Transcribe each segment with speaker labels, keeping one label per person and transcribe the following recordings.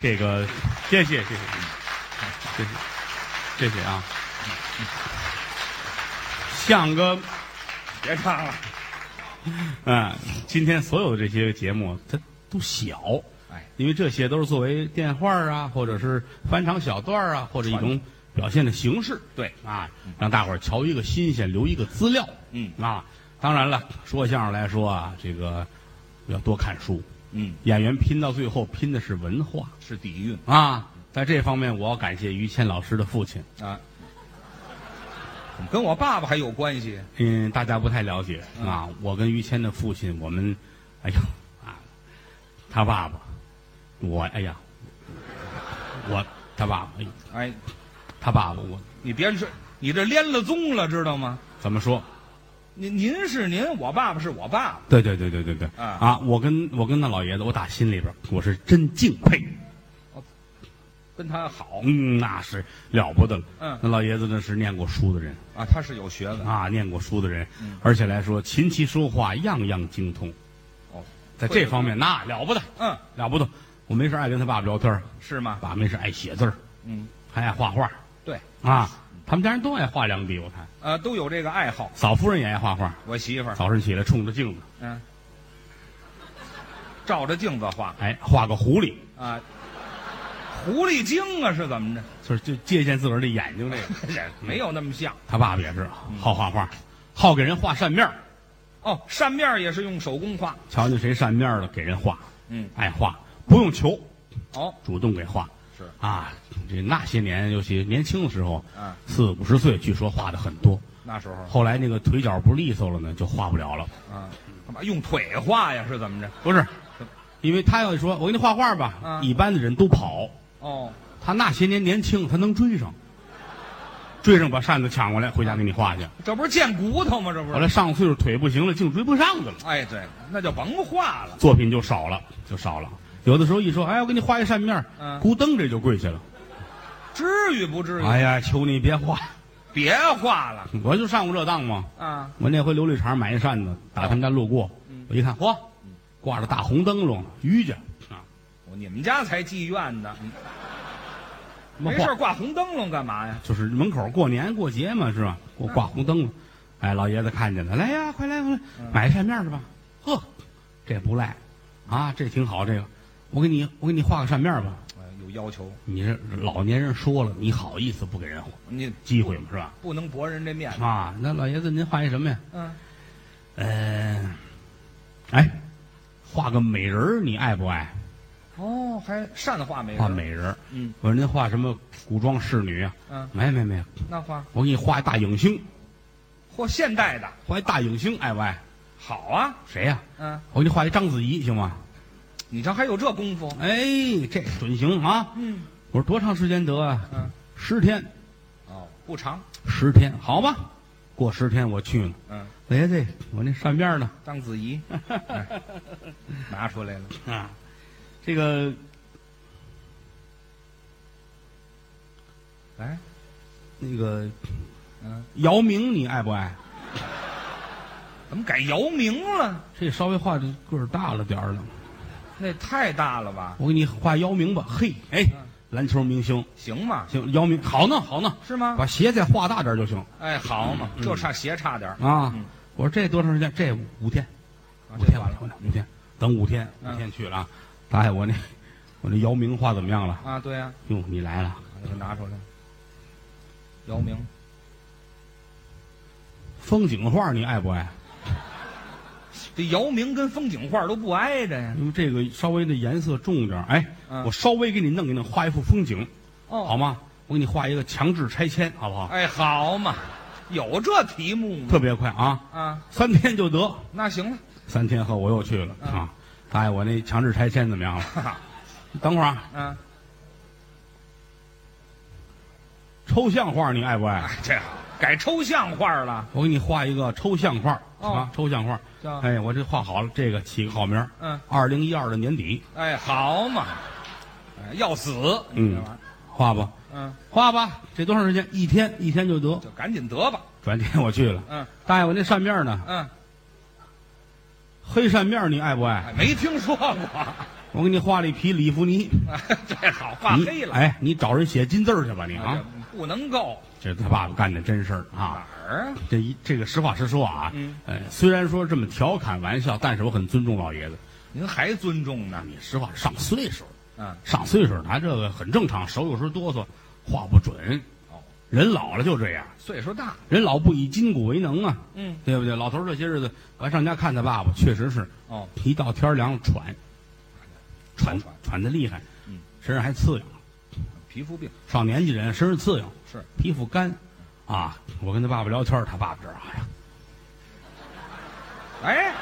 Speaker 1: 这个谢谢谢谢嗯谢谢谢谢啊，像个别唱了，嗯，今天所有的这些节目它都小，
Speaker 2: 哎，
Speaker 1: 因为这些都是作为电话啊，或者是翻唱小段啊，或者一种表现的形式，
Speaker 2: 对
Speaker 1: 啊，让大伙儿瞧一个新鲜，留一个资料，
Speaker 2: 嗯
Speaker 1: 啊，当然了，说相声来说啊，这个要多看书，
Speaker 2: 嗯，
Speaker 1: 演员拼到最后拼的是文化
Speaker 2: 是底蕴
Speaker 1: 啊，在这方面我要感谢于谦老师的父亲。
Speaker 2: 啊，怎么跟我爸爸还有关系？
Speaker 1: 嗯，大家不太了解
Speaker 2: 嗯
Speaker 1: 啊，我跟于谦的父亲，我们，哎呦啊，他爸爸，我哎呀，我他爸爸，哎呦
Speaker 2: 哎，
Speaker 1: 他爸爸，我
Speaker 2: 你别说，你这连了宗了，知道吗？
Speaker 1: 怎么说？
Speaker 2: 您您是您，我爸爸是我爸爸，
Speaker 1: 对对对对对对
Speaker 2: 啊
Speaker 1: 我跟我跟那老爷子，我打心里边儿我是真敬佩，
Speaker 2: 跟他好
Speaker 1: 嗯，那是了不得了。
Speaker 2: 嗯
Speaker 1: 那老爷子那是念过书的人
Speaker 2: 啊，他是有学问
Speaker 1: 啊，念过书的人，
Speaker 2: 嗯
Speaker 1: 而且来说琴棋书画样样精通，
Speaker 2: 哦，
Speaker 1: 在
Speaker 2: 会
Speaker 1: 这方面那了不得，
Speaker 2: 嗯，
Speaker 1: 了不得。我没事爱跟他爸爸聊天儿，
Speaker 2: 是吗？
Speaker 1: 爸没事爱写字儿，
Speaker 2: 嗯，
Speaker 1: 还爱画画
Speaker 2: 对，
Speaker 1: 啊。他们家人都爱画两笔，我看
Speaker 2: 呃，都有这个爱好。
Speaker 1: 嫂夫人也爱画画，
Speaker 2: 我媳妇儿，
Speaker 1: 早晨起来冲着镜子，
Speaker 2: 嗯，照着镜子画
Speaker 1: 哎，画个狐狸，
Speaker 2: 啊，狐狸精啊，是怎 么着？
Speaker 1: 就是就借鉴自个儿的眼睛这个。
Speaker 2: 这 没有那么像
Speaker 1: 他爸爸也是啊
Speaker 2: 嗯
Speaker 1: 好画画，好给人画扇面儿
Speaker 2: 哦。扇面儿也是用手工画，
Speaker 1: 瞧见谁扇面儿了给人画，
Speaker 2: 嗯，
Speaker 1: 爱画，不用求，
Speaker 2: 哦，
Speaker 1: 主动给画。
Speaker 2: 是
Speaker 1: 啊，这那些年，尤其年轻的时候，
Speaker 2: 嗯
Speaker 1: 四五十岁，据说画的很多。
Speaker 2: 那时候，
Speaker 1: 后来那个腿脚不利索了呢，就画不了了。
Speaker 2: 啊，干嘛用腿画呀？是怎么着？
Speaker 1: 不是，因为他要说我给你画画吧，
Speaker 2: 嗯
Speaker 1: 一般的人都跑，
Speaker 2: 哦，
Speaker 1: 他那些年年轻，他能追上，追上把扇子抢过来，回家给你画去。
Speaker 2: 这不是见骨头吗？这不
Speaker 1: 后
Speaker 2: 是？
Speaker 1: 来上了岁数腿不行了，竟追不上去了，
Speaker 2: 哎，对，那就甭画了。
Speaker 1: 作品就少了，就少了。有的时候一说，哎，我给你画一扇面儿，
Speaker 2: 嗯
Speaker 1: 咕噔这就跪下了。
Speaker 2: 至于不至于？
Speaker 1: 哎呀，求你别画，
Speaker 2: 别画了
Speaker 1: 我就上过这当嘛。
Speaker 2: 啊！
Speaker 1: 我那回琉璃厂买一扇子，打他们家路过，
Speaker 2: 嗯
Speaker 1: 我一看，嚯，挂着大红灯笼，于家啊，
Speaker 2: 你们家才妓院呢，
Speaker 1: 那
Speaker 2: 没
Speaker 1: 画
Speaker 2: 事挂红灯笼干嘛呀？
Speaker 1: 就是门口过年过节嘛，是吧？给
Speaker 2: 嗯
Speaker 1: 我挂红灯笼。哎，老爷子看见了，来呀，快来快来，买一扇面去吧。呵，这不赖，啊，这挺好，这个，我给你我给你画个扇面吧。
Speaker 2: 哎有要求，
Speaker 1: 你这老年人说了，你好意思不给人
Speaker 2: 你
Speaker 1: 机会吗？是吧？
Speaker 2: 不能驳人这面子。
Speaker 1: 啊，那老爷子您画一什么呀？
Speaker 2: 嗯，呃
Speaker 1: 嗯、哎，画个美人儿，你爱不爱？
Speaker 2: 哦，还善画美人，
Speaker 1: 画美人儿。
Speaker 2: 嗯，
Speaker 1: 我说您画什么古装仕女啊？
Speaker 2: 嗯，
Speaker 1: 没没没，
Speaker 2: 那画
Speaker 1: 我给你画一大影星，
Speaker 2: 或现代的
Speaker 1: 画一大影星，爱不爱？
Speaker 2: 好啊。
Speaker 1: 谁呀、
Speaker 2: 嗯，
Speaker 1: 我给你画一章子怡行吗？
Speaker 2: 你瞧还有这功夫？
Speaker 1: 哎，这准行啊！
Speaker 2: 嗯
Speaker 1: 我说多长时间得啊？
Speaker 2: 嗯，
Speaker 1: 十天，
Speaker 2: 哦，不长。
Speaker 1: 十天，好吧。过十天我去了，
Speaker 2: 嗯，
Speaker 1: 哎，对，我那扇面呢？
Speaker 2: 章 子怡哎拿出来了。
Speaker 1: 啊，这个
Speaker 2: 来，
Speaker 1: 那个
Speaker 2: 嗯，
Speaker 1: 姚明你爱不爱？
Speaker 2: 怎么改姚明了？
Speaker 1: 这稍微画的个儿大了点儿了，
Speaker 2: 那太大了吧？
Speaker 1: 我给你画姚明吧。嘿，哎
Speaker 2: 嗯，
Speaker 1: 篮球明星，
Speaker 2: 行吗？
Speaker 1: 行，姚明好呢，好呢，
Speaker 2: 是吗？
Speaker 1: 把鞋再画大点儿就行
Speaker 2: 哎，好嘛，
Speaker 1: 嗯
Speaker 2: 就差鞋差点儿
Speaker 1: 啊
Speaker 2: 嗯。
Speaker 1: 我说这多长时间？这五天。
Speaker 2: 啊
Speaker 1: 五
Speaker 2: 这
Speaker 1: 天完
Speaker 2: 完了
Speaker 1: 嗯了，五天，等五天，
Speaker 2: 嗯
Speaker 1: 五天去了啊！大爷，我那我那姚明画怎么样了？
Speaker 2: 啊！对呀、
Speaker 1: 哟，你来了，
Speaker 2: 把那个拿出来。姚明，
Speaker 1: 风景画你爱不爱？
Speaker 2: 这姚明跟风景画都不挨着呀。
Speaker 1: 因为这个稍微的颜色重一点儿，哎，
Speaker 2: 嗯
Speaker 1: 我稍微给你弄一弄，画一幅风景，
Speaker 2: 哦
Speaker 1: 好吗？我给你画一个强制拆迁，好不好？
Speaker 2: 哎，好嘛，有这题目吗？
Speaker 1: 特别快啊，
Speaker 2: 啊，
Speaker 1: 三天就得。
Speaker 2: 那行了，
Speaker 1: 三天后我又去了
Speaker 2: 嗯
Speaker 1: 啊，大爷，我那强制拆迁怎么样了？
Speaker 2: 哈哈，
Speaker 1: 等会儿啊，
Speaker 2: 啊，
Speaker 1: 抽象画你爱不爱？
Speaker 2: 哎，这好，改抽象画了，
Speaker 1: 我给你画一个抽象画
Speaker 2: 哦
Speaker 1: 啊，抽象画。
Speaker 2: 叫
Speaker 1: 哎，我这画好了，这个起个好名儿。
Speaker 2: 嗯，
Speaker 1: 二零一二的年底，
Speaker 2: 哎，好嘛，哎要死，你这玩意儿，
Speaker 1: 画吧，
Speaker 2: 嗯，
Speaker 1: 画吧，这多长时间？一天，一天就得。
Speaker 2: 就赶紧得吧，
Speaker 1: 转天我去了，
Speaker 2: 嗯
Speaker 1: 大爷，我那扇面呢？
Speaker 2: 嗯，
Speaker 1: 黑扇面你爱不爱？
Speaker 2: 哎，没听说过， 哎
Speaker 1: 我给你画了一匹里弗尼，
Speaker 2: 这好画
Speaker 1: 你
Speaker 2: 黑了
Speaker 1: 哎，你找人写金字儿去吧，你啊，，
Speaker 2: 这不能够
Speaker 1: 这是他爸爸干的真事儿啊
Speaker 2: 哪。儿啊？
Speaker 1: 这一这个实话实说啊，
Speaker 2: 嗯
Speaker 1: 呃，虽然说这么调侃玩笑，但是我很尊重老爷子。
Speaker 2: 您还尊重呢？
Speaker 1: 你实话上岁数了，
Speaker 2: 嗯，
Speaker 1: 上岁数了他这个很正常，手有时候哆嗦，话不准
Speaker 2: 哦。
Speaker 1: 人老了就这样，
Speaker 2: 岁数大，
Speaker 1: 人老不以筋骨为能啊，
Speaker 2: 嗯，
Speaker 1: 对不对？老头儿这些日子，我还上家看他爸爸，确实是
Speaker 2: 哦，
Speaker 1: 一到天儿凉了喘，喘
Speaker 2: 喘
Speaker 1: 喘的厉害，
Speaker 2: 嗯，
Speaker 1: 身上还刺痒。
Speaker 2: 皮肤病
Speaker 1: 上年纪人身上刺痒，
Speaker 2: 是
Speaker 1: 皮肤干，啊，我跟他爸爸聊天儿，他爸爸这儿，哎呀，
Speaker 2: 哎，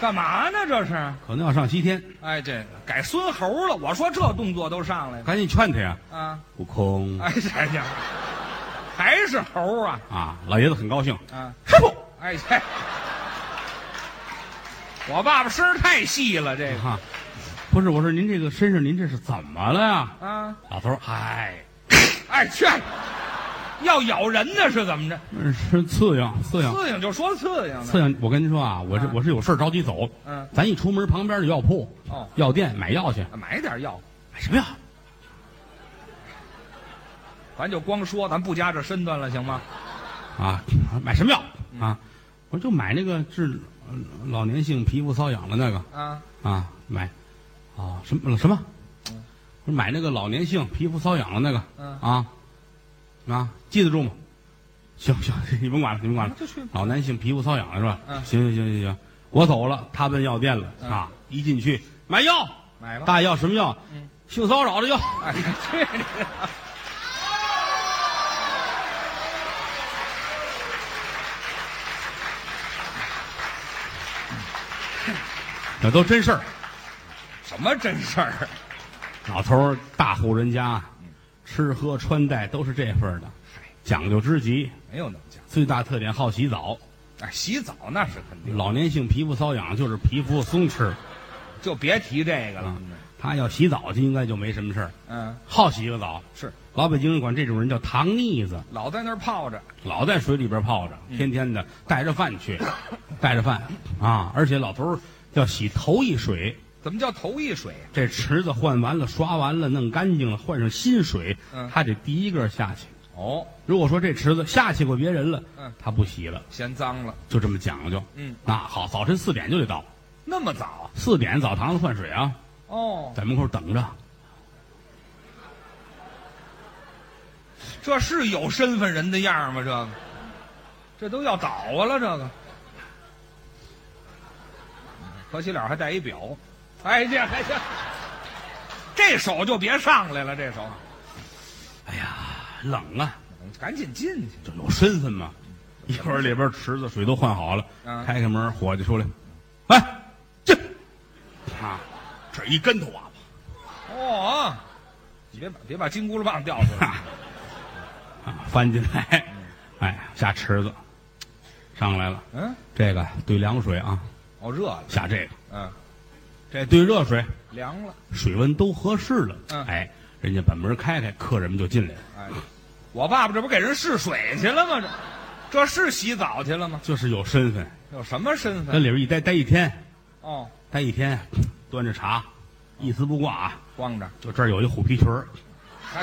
Speaker 2: 干嘛呢？这是？
Speaker 1: 可能要上西天，
Speaker 2: 哎，这改孙猴了。我说这动作都上来了
Speaker 1: 赶紧劝他呀，
Speaker 2: 啊！
Speaker 1: 悟空
Speaker 2: 哎哎呀，还是猴啊
Speaker 1: 啊，老爷子很高兴，
Speaker 2: 啊！
Speaker 1: 师傅
Speaker 2: 哎这，我爸爸声儿太细了，这个
Speaker 1: 啊，不是，我说您这个身上您这是怎么了呀？
Speaker 2: 啊，
Speaker 1: 老头儿，嗨，
Speaker 2: 哎去，要咬人呢是怎么着？
Speaker 1: 是刺痒，刺痒，
Speaker 2: 刺痒就说刺痒
Speaker 1: 嗯刺
Speaker 2: 呢。
Speaker 1: 痒。我跟您说啊，我这
Speaker 2: 啊
Speaker 1: 我是有事儿着急走，
Speaker 2: 嗯，
Speaker 1: 咱一出门旁边的药铺、
Speaker 2: 哦，
Speaker 1: 药店买药去，
Speaker 2: 买点药，
Speaker 1: 买什么药？
Speaker 2: 咱就光说，咱不加这身段了，行吗？
Speaker 1: 啊，买什么药啊？我说就买那个治呃老年性皮肤瘙痒的那个
Speaker 2: 啊，
Speaker 1: 啊，买啊什么什么？我说买那个老年性皮肤瘙痒的那个
Speaker 2: 嗯，
Speaker 1: 啊啊，记得住吗？行 行，你甭管了，你甭管了
Speaker 2: 那。就去。
Speaker 1: 老男性皮肤瘙痒是吧？
Speaker 2: 嗯
Speaker 1: 行行行行行，我走了，他奔药店了、
Speaker 2: 嗯
Speaker 1: 啊！一进去买药，
Speaker 2: 买吧。
Speaker 1: 大药什么药？
Speaker 2: 嗯
Speaker 1: 性骚扰的药。
Speaker 2: 哎，去你的！
Speaker 1: 这都真事儿。
Speaker 2: 什么真事儿？啊
Speaker 1: 老头儿大户人家，吃喝穿戴都是这份儿的，讲究之极。
Speaker 2: 没有那么讲。
Speaker 1: 最大特点好洗澡，
Speaker 2: 哎，洗澡那是肯定，
Speaker 1: 老年性皮肤瘙痒就是皮肤松弛。
Speaker 2: 就别提这个了
Speaker 1: 啊。他要洗澡就应该就没什么事儿，
Speaker 2: 嗯，
Speaker 1: 好洗个澡。
Speaker 2: 是
Speaker 1: 老北京人管这种人叫糖腻子，
Speaker 2: 老在那儿泡着，
Speaker 1: 老在水里边泡着，天天的带着饭去，带着饭啊！而且老头儿要洗头一水，
Speaker 2: 怎么叫头一水啊？
Speaker 1: 这池子换完了、刷完了、弄干净了，换上新水
Speaker 2: 嗯，
Speaker 1: 他得第一个下去。
Speaker 2: 哦，
Speaker 1: 如果说这池子下去过别人了
Speaker 2: 嗯，
Speaker 1: 他不洗了，
Speaker 2: 嫌脏了。
Speaker 1: 就这么讲究。
Speaker 2: 嗯，
Speaker 1: 那好，早晨四点就得到，
Speaker 2: 那么早？啊
Speaker 1: 四点澡堂子换水啊，
Speaker 2: 哦，
Speaker 1: 在门口等着。
Speaker 2: 这是有身份人的样吗？这个，这都要倒啊了，这个。嗯可惜了还带一表，哎这哎这，这手就别上来了，这手，
Speaker 1: 哎呀，冷啊，
Speaker 2: 赶紧进去。
Speaker 1: 这有身份嘛。一会儿里边池子水都换好了，
Speaker 2: 嗯
Speaker 1: 开开门，伙计出来，哎，进，啊，这一跟头啊，
Speaker 2: 哦，你别把别把金箍棒掉出 来。
Speaker 1: 哈啊，翻进来，哎，下池子，上来了，
Speaker 2: 嗯，
Speaker 1: 这个兑凉水啊，
Speaker 2: 哦，热了，
Speaker 1: 下这个，
Speaker 2: 嗯，
Speaker 1: 这兑热水，
Speaker 2: 凉了。
Speaker 1: 水温都合适了，
Speaker 2: 嗯
Speaker 1: 哎，人家把门开开，客人们就进来了。
Speaker 2: 哎，我爸爸这不给人试水去了吗？这这是洗澡去了吗？
Speaker 1: 就是有身份，
Speaker 2: 有什么身
Speaker 1: 跟
Speaker 2: 份？
Speaker 1: 里边一待待一天，
Speaker 2: 哦，
Speaker 1: 待一天，端着茶，一丝不挂啊。
Speaker 2: 光着，
Speaker 1: 就这儿有一虎皮裙儿，
Speaker 2: 哎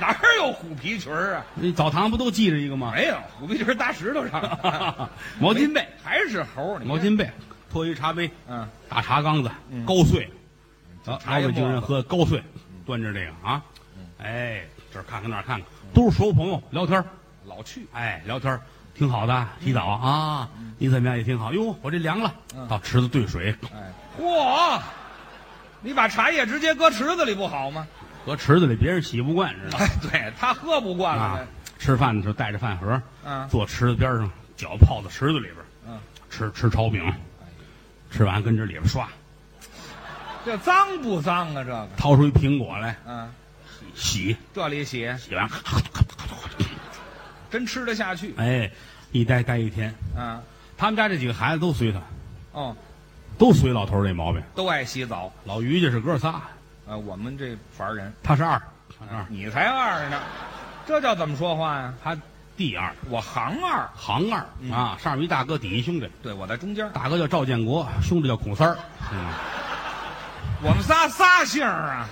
Speaker 2: 哪儿有虎皮裙儿啊？
Speaker 1: 那澡堂不都系着一个吗？哎
Speaker 2: 没有，虎皮裙儿搭石头上
Speaker 1: 嗯
Speaker 2: 的，
Speaker 1: 毛巾被，
Speaker 2: 还是猴儿？你看
Speaker 1: 毛，巾被，托一茶杯，
Speaker 2: 嗯，
Speaker 1: 大茶缸子，
Speaker 2: 嗯
Speaker 1: 高碎，啊，
Speaker 2: 茶
Speaker 1: 老
Speaker 2: 叶沫
Speaker 1: 北京人喝高碎，端着这个啊，哎，这儿看看那儿看看，都是熟朋友聊天儿
Speaker 2: 老去，
Speaker 1: 哎，聊天儿挺好的，洗澡啊，你怎么样也挺好，哟，我这凉了，
Speaker 2: 嗯
Speaker 1: 到池子兑水，
Speaker 2: 哎，嚯！你把茶叶直接搁池子里不 好吗？
Speaker 1: 搁池子里别人洗不惯知道吗
Speaker 2: 哎，对他喝不惯
Speaker 1: 啊
Speaker 2: 了，，
Speaker 1: 吃饭的时候带着饭盒，
Speaker 2: 哎嗯
Speaker 1: 坐池子边上，脚泡在池子里边儿，
Speaker 2: 嗯
Speaker 1: 吃吃炒饼，吃完跟这里边刷，
Speaker 2: 这脏不脏啊？这个，
Speaker 1: 掏出一苹果来
Speaker 2: 嗯，
Speaker 1: 洗，
Speaker 2: 这里洗
Speaker 1: 洗完，
Speaker 2: 真吃得下去，
Speaker 1: 哎，一待待一天。
Speaker 2: 嗯，
Speaker 1: 他们家这几个孩子都随他，
Speaker 2: 哦，
Speaker 1: 都随老头儿这毛病。
Speaker 2: 都爱洗澡。
Speaker 1: 老于家是哥仨，
Speaker 2: 啊，我们这凡人，
Speaker 1: 他是二，他是二，
Speaker 2: 你才二呢，这叫怎么说话呀？
Speaker 1: 他第二，
Speaker 2: 我行二，
Speaker 1: 行二啊，上面一大哥，底一兄弟，
Speaker 2: 对我在中间，
Speaker 1: 大哥叫赵建国，兄弟叫孔三儿，
Speaker 2: 我们仨仨姓儿啊，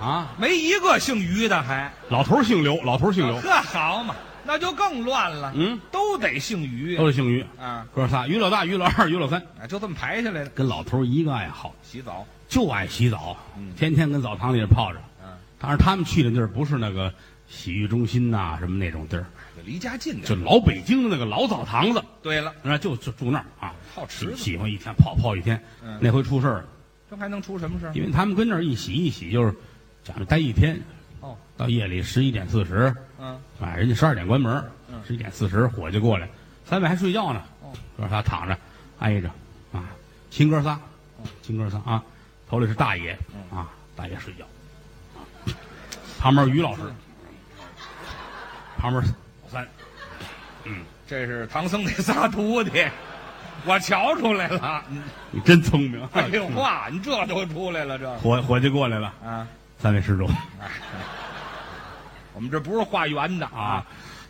Speaker 1: 啊，
Speaker 2: 没一个姓于的还，
Speaker 1: 老头儿姓刘，老头儿姓刘，
Speaker 2: 这好嘛，那就更乱了，
Speaker 1: 哎嗯，哦
Speaker 2: 都得姓于
Speaker 1: 都是姓于，
Speaker 2: 啊，
Speaker 1: 哥仨，于老大、于老二、于老三，
Speaker 2: 哎就这么排下来的。
Speaker 1: 跟老头儿一个爱好，
Speaker 2: 洗澡，
Speaker 1: 就爱洗澡，
Speaker 2: 嗯
Speaker 1: 天天跟澡堂里泡着。
Speaker 2: 嗯，
Speaker 1: 当然，他们去的地儿不是那个洗浴中心呐、什么那种地儿，
Speaker 2: 就离家近
Speaker 1: 就
Speaker 2: 点。
Speaker 1: 老北京的那个老澡堂子，
Speaker 2: 对了，
Speaker 1: 那就就住那儿啊，
Speaker 2: 泡池子
Speaker 1: 喜欢一天泡泡一天。
Speaker 2: 嗯
Speaker 1: 那回出事儿了，
Speaker 2: 这还能出什么事儿？
Speaker 1: 因为他们跟那儿一洗一洗，就是讲究待一天，
Speaker 2: 哦，
Speaker 1: 到夜里十一点四十，
Speaker 2: 嗯，
Speaker 1: 啊，人家十二点关门，十一点四十伙计过来，三位还睡觉呢
Speaker 2: 哦，
Speaker 1: 哥仨躺着挨着啊，亲哥仨，
Speaker 2: 哦
Speaker 1: 亲哥仨啊，头里是大爷
Speaker 2: 嗯
Speaker 1: 啊，大爷睡觉，啊旁边于老师，旁边老三，
Speaker 2: 这是唐僧那仨徒弟，我瞧出来了。嗯
Speaker 1: 你真聪明，
Speaker 2: 哎 呦，哇，你这都出来了，这
Speaker 1: 伙伙计过来了，
Speaker 2: 啊，
Speaker 1: 三位施主
Speaker 2: 我们这不是化缘的
Speaker 1: 啊，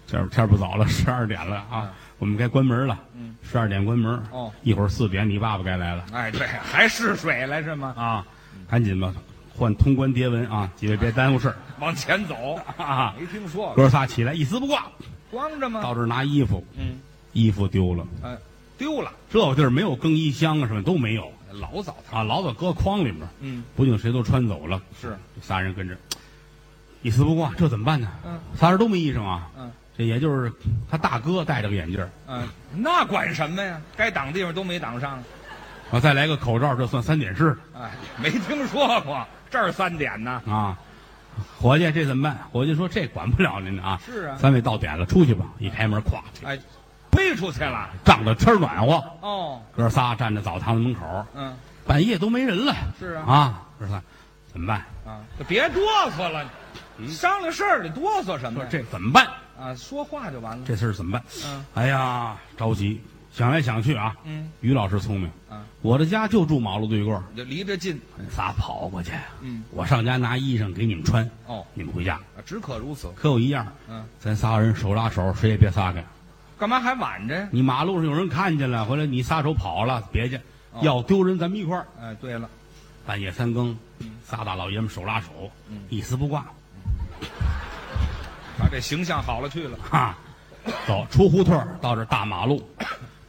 Speaker 1: 今儿天儿不早了，十二点了啊，我们该关门了，十二点关门，
Speaker 2: 嗯哦
Speaker 1: 一会儿四点你爸爸该来了。
Speaker 2: 哎，对，还试水来是吗？
Speaker 1: 啊，赶紧吧，换通关牒文啊！几位别耽误事儿
Speaker 2: 往前走，
Speaker 1: 啊！
Speaker 2: 没听说过，
Speaker 1: 哥仨起来一丝不挂，
Speaker 2: 光着吗？
Speaker 1: 到这儿拿衣服，
Speaker 2: 嗯，
Speaker 1: 衣服丢了，
Speaker 2: 哎，丢了，
Speaker 1: 这地儿没有更衣箱啊，什么都没有
Speaker 2: 老澡堂，
Speaker 1: 啊，老早搁筐里面，
Speaker 2: 嗯，
Speaker 1: 不定谁都穿走了。
Speaker 2: 是，
Speaker 1: 仨人跟着，一丝不挂，这怎么办呢？
Speaker 2: 嗯，
Speaker 1: 仨人都没衣裳啊。
Speaker 2: 嗯，
Speaker 1: 这也就是他大哥戴着个眼镜儿
Speaker 2: 嗯，那管什么呀？该挡地方都没挡上，
Speaker 1: 啊，再来个口罩，这算三点式
Speaker 2: 哎，没听说过，这儿三点呢，
Speaker 1: 啊。伙计，这怎么办？伙计说这管不了您啊。
Speaker 2: 是啊
Speaker 1: 三位到点了，出去吧。一开门，咵，
Speaker 2: 哎，飞出去了，
Speaker 1: 仗着天儿暖和，
Speaker 2: 哦，
Speaker 1: 哥仨站在澡堂子门口，
Speaker 2: 嗯，
Speaker 1: 半夜都没人了。
Speaker 2: 是啊
Speaker 1: 啊，哥仨怎么办？
Speaker 2: 啊，就别哆嗦了，商量事儿你哆嗦什么
Speaker 1: 说
Speaker 2: 呀？
Speaker 1: 这怎么办？
Speaker 2: 啊，说话就完了，
Speaker 1: 这事儿怎么办？
Speaker 2: 嗯
Speaker 1: 哎呀，着急，想来想去啊。
Speaker 2: 嗯，
Speaker 1: 于老师聪明，
Speaker 2: 嗯
Speaker 1: 我的家就住马路对过儿，
Speaker 2: 就离着近，
Speaker 1: 你仨跑过去，
Speaker 2: 嗯，
Speaker 1: 我上家拿衣裳给你们穿，
Speaker 2: 哦，
Speaker 1: 你们回家。
Speaker 2: 啊只可如此，
Speaker 1: 可有一样，
Speaker 2: 嗯，
Speaker 1: 咱仨人手拉手，谁也别撒开。
Speaker 2: 干嘛还挽着呀？
Speaker 1: 你马路上有人看见了，回来你撒手跑了，别去，
Speaker 2: 哦
Speaker 1: 要丢人咱们一块儿。
Speaker 2: 哎，对了，
Speaker 1: 半夜三更，
Speaker 2: 嗯
Speaker 1: 仨大老爷们手拉手，一丝不挂，
Speaker 2: 把这形象好了去了，
Speaker 1: 哈，啊走出胡同儿到这大马路，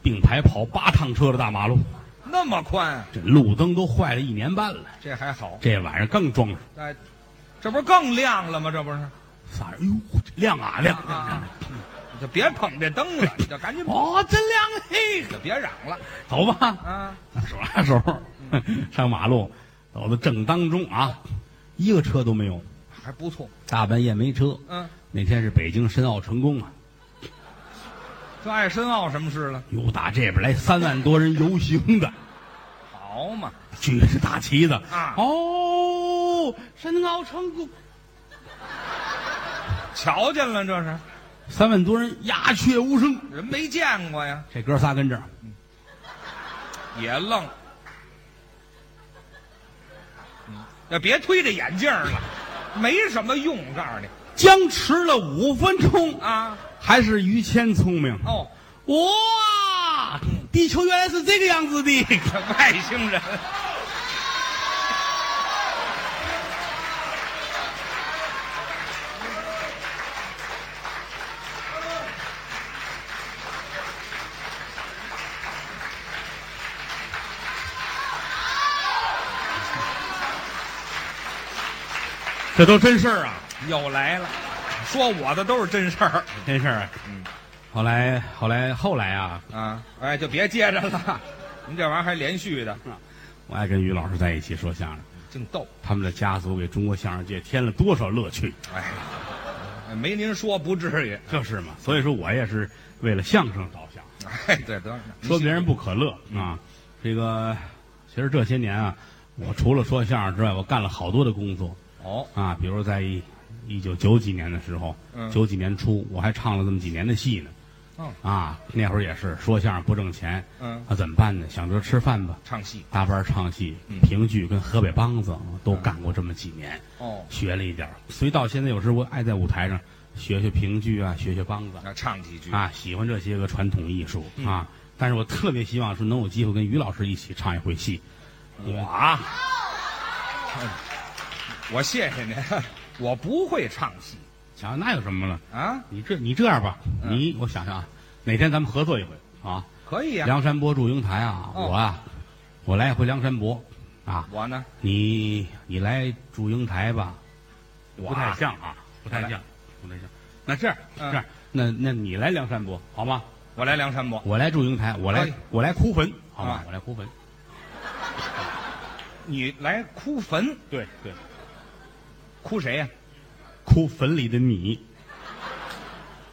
Speaker 1: 并排跑八趟车的大马路，
Speaker 2: 那么宽啊，
Speaker 1: 这路灯都坏了一年半了。
Speaker 2: 这还好，
Speaker 1: 这晚上更装饰，
Speaker 2: 哎，这不是更亮了吗？这不是，
Speaker 1: 仨人哎呦亮啊亮
Speaker 2: 啊，你就别捧这灯了，你就赶紧跑，
Speaker 1: 哦真亮嘿，
Speaker 2: 就别嚷了
Speaker 1: 走吧，
Speaker 2: 啊！
Speaker 1: 手拉手上马路，走到正当中啊，一个车都没有，
Speaker 2: 还不错，
Speaker 1: 大半夜没车。
Speaker 2: 嗯，
Speaker 1: 那天是北京申奥成功啊，
Speaker 2: 这爱申奥什么事了？
Speaker 1: 由打这边来三万多人游行的。
Speaker 2: 好嘛，
Speaker 1: 举着大旗子
Speaker 2: 啊
Speaker 1: 哦，申奥成功，
Speaker 2: 瞧见了这是，
Speaker 1: 三万多人鸦雀无声。
Speaker 2: 人没见过呀，
Speaker 1: 这哥仨跟这儿，
Speaker 2: 也愣。嗯那别推着眼镜了，没什么用，告诉你
Speaker 1: 僵持了五分钟，
Speaker 2: 啊。
Speaker 1: 还是于谦聪明。
Speaker 2: 哦，
Speaker 1: 哇，地球原来是这个样子的。
Speaker 2: 这外星人，
Speaker 1: 这都真事儿啊，
Speaker 2: 又来了，说我的都是真事儿
Speaker 1: 真事儿啊。嗯，后来后来后来啊，
Speaker 2: 啊！哎，就别接着了，您这玩意儿还连续的，
Speaker 1: 我爱跟于老师在一起说相声，
Speaker 2: 净逗。
Speaker 1: 他们的家族给中国相声界添了多少乐趣，
Speaker 2: 哎，没您说不至于。
Speaker 1: 这是嘛？所以说我也是为了相声着想。
Speaker 2: 哎，对，得
Speaker 1: 说别人不可乐啊。这个其实这些年啊，我除了说相声之外，我干了好多的工作
Speaker 2: 哦，
Speaker 1: 啊，比如在一九九几年的时候，
Speaker 2: 嗯
Speaker 1: 九几年初我还唱了这么几年的戏呢。
Speaker 2: 哦
Speaker 1: 啊，那会儿也是说相声不挣钱，
Speaker 2: 嗯
Speaker 1: 那、怎么办呢？想着吃饭吧，
Speaker 2: 唱戏
Speaker 1: 搭班唱戏、
Speaker 2: 嗯
Speaker 1: 评剧跟河北梆子都干过这么几年，
Speaker 2: 哦，
Speaker 1: 学了一点儿所以到现在有时候我爱在舞台上学学评剧啊，学学梆子
Speaker 2: 那唱几句，
Speaker 1: 啊，喜欢这些个传统艺术
Speaker 2: 嗯
Speaker 1: 啊。但是我特别希望是能有机会跟于老师一起唱一回戏，
Speaker 2: 嗯
Speaker 1: 我啊，
Speaker 2: 我谢谢您，我不会唱戏
Speaker 1: 瞧那有什么了？
Speaker 2: 啊，
Speaker 1: 你这你这样吧，你我想想啊，哪天咱们合作一回啊？
Speaker 2: 可以呀、
Speaker 1: 梁山伯祝英台啊，
Speaker 2: 哦
Speaker 1: 我啊，我来一回梁山伯啊，
Speaker 2: 我呢，
Speaker 1: 你你来祝英台吧，
Speaker 2: 我
Speaker 1: 不太
Speaker 2: 啊
Speaker 1: 像啊，不太
Speaker 2: 我来
Speaker 1: 像，不太像。那这样
Speaker 2: 嗯
Speaker 1: 这样，那那你来梁山伯好吗？
Speaker 2: 我来梁山伯，
Speaker 1: 我来祝英台，我来
Speaker 2: 哎
Speaker 1: 我来哭坟好吗
Speaker 2: 啊？
Speaker 1: 我来哭坟，
Speaker 2: 你来哭坟，
Speaker 1: 对对，
Speaker 2: 哭谁呀、
Speaker 1: 哭坟里的你，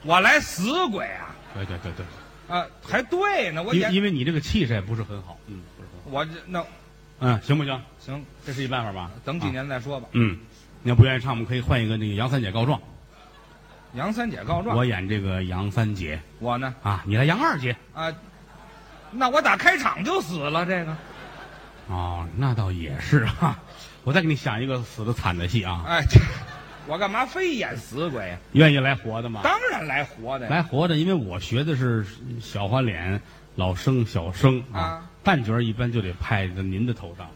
Speaker 2: 我来死鬼啊！
Speaker 1: 对对对对，
Speaker 2: 啊，还对呢，我
Speaker 1: 因为
Speaker 2: 演
Speaker 1: 因为你这个气势也不是很好，嗯，不是很好，
Speaker 2: 我这那
Speaker 1: 嗯，行不行？
Speaker 2: 行，
Speaker 1: 这是一办法吧？
Speaker 2: 等几
Speaker 1: 啊
Speaker 2: 年再说吧。
Speaker 1: 嗯，你要不愿意唱，我们可以换一个那个杨三姐告状，
Speaker 2: 杨三姐告状，
Speaker 1: 我演这个杨三姐
Speaker 2: 我呢
Speaker 1: 啊，你来杨二姐
Speaker 2: 啊，那我打开场就死了，这个
Speaker 1: 哦，那倒也是哈、我再给你想一个死的惨的戏啊，
Speaker 2: 哎，这我干嘛非演死鬼呀、
Speaker 1: 愿意来活的吗？
Speaker 2: 当然来活的呀，
Speaker 1: 啊来活的，因为我学的是小花脸、老生、小生啊
Speaker 2: 啊，
Speaker 1: 旦角一般就得派到您的头上。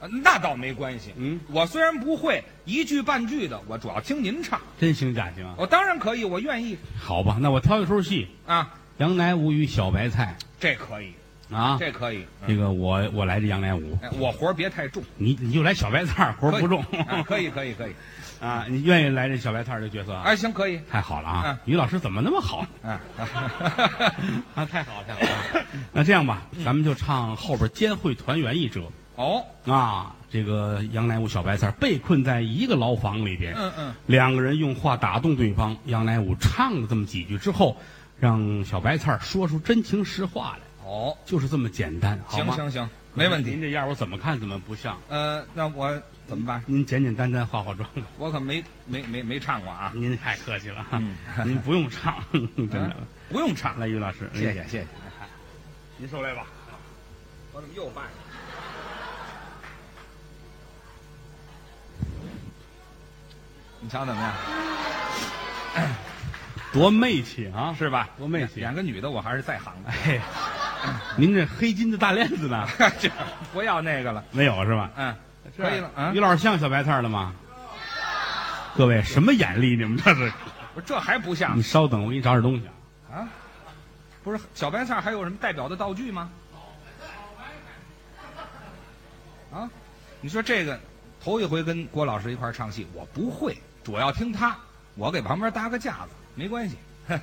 Speaker 2: 呃那倒没关系。
Speaker 1: 嗯，
Speaker 2: 我虽然不会一句半句的，我主要听您唱，
Speaker 1: 真行假行啊？
Speaker 2: 我当然可以，我愿意
Speaker 1: 好吧，那我挑一出戏《
Speaker 2: 啊，
Speaker 1: 杨乃武与小白菜
Speaker 2: 这可以，》
Speaker 1: 啊，
Speaker 2: 这可以。嗯
Speaker 1: 这个我我来这杨乃武，
Speaker 2: 哎，我活儿别太重，
Speaker 1: 你你就来小白菜儿，活儿
Speaker 2: 可以
Speaker 1: 不重
Speaker 2: 啊 可以可以可以，
Speaker 1: 啊，你愿意来这小白菜儿这角 色啊？
Speaker 2: 哎，行可以，
Speaker 1: 太好了啊
Speaker 2: 嗯！
Speaker 1: 于老师怎么那么好
Speaker 2: 啊，嗯
Speaker 1: 啊？太好了，太好了！ 那这样吧，咱们就唱后边监会团圆一折
Speaker 2: 哦，
Speaker 1: 啊。这个杨乃武、小白菜儿被困在一个牢房里边，
Speaker 2: 嗯嗯，
Speaker 1: 两个人用话打动对方。杨乃武唱了这么几句之后，让小白菜儿说出真情实话来，
Speaker 2: 哦，
Speaker 1: 就是这么简单，好
Speaker 2: 行
Speaker 1: 吗？
Speaker 2: 行行，没问
Speaker 1: 您
Speaker 2: 题。
Speaker 1: 这样我怎么看怎么不像。
Speaker 2: 呃，那我怎么办？
Speaker 1: 您简简单单化化妆，
Speaker 2: 我可没没没没唱过啊，
Speaker 1: 您太客气了，
Speaker 2: 嗯
Speaker 1: 您不用唱， 真的。
Speaker 2: 不用唱。
Speaker 1: 来，于老师，
Speaker 2: 谢谢谢谢，
Speaker 1: 您受累吧。
Speaker 2: 我怎么又败了？你瞧怎么样？
Speaker 1: 多媚气啊，是吧？多媚气
Speaker 2: 演！个女的，我还是在行的。
Speaker 1: 哎，您这黑金的大链子 呢？
Speaker 2: 这不要那个了，
Speaker 1: 没有是吧？
Speaker 2: 嗯，可以了啊
Speaker 1: 于。老师像小白菜了吗？各位什么眼力？你们这 是？
Speaker 2: 不是这还不像
Speaker 1: 你稍等，我给你找点东西啊。
Speaker 2: 啊？不是小白菜还有什么代表的道具吗？啊，你说这个头一回跟郭老师一块儿唱戏，我不会，主要听他，我给旁边搭个架子，没关系，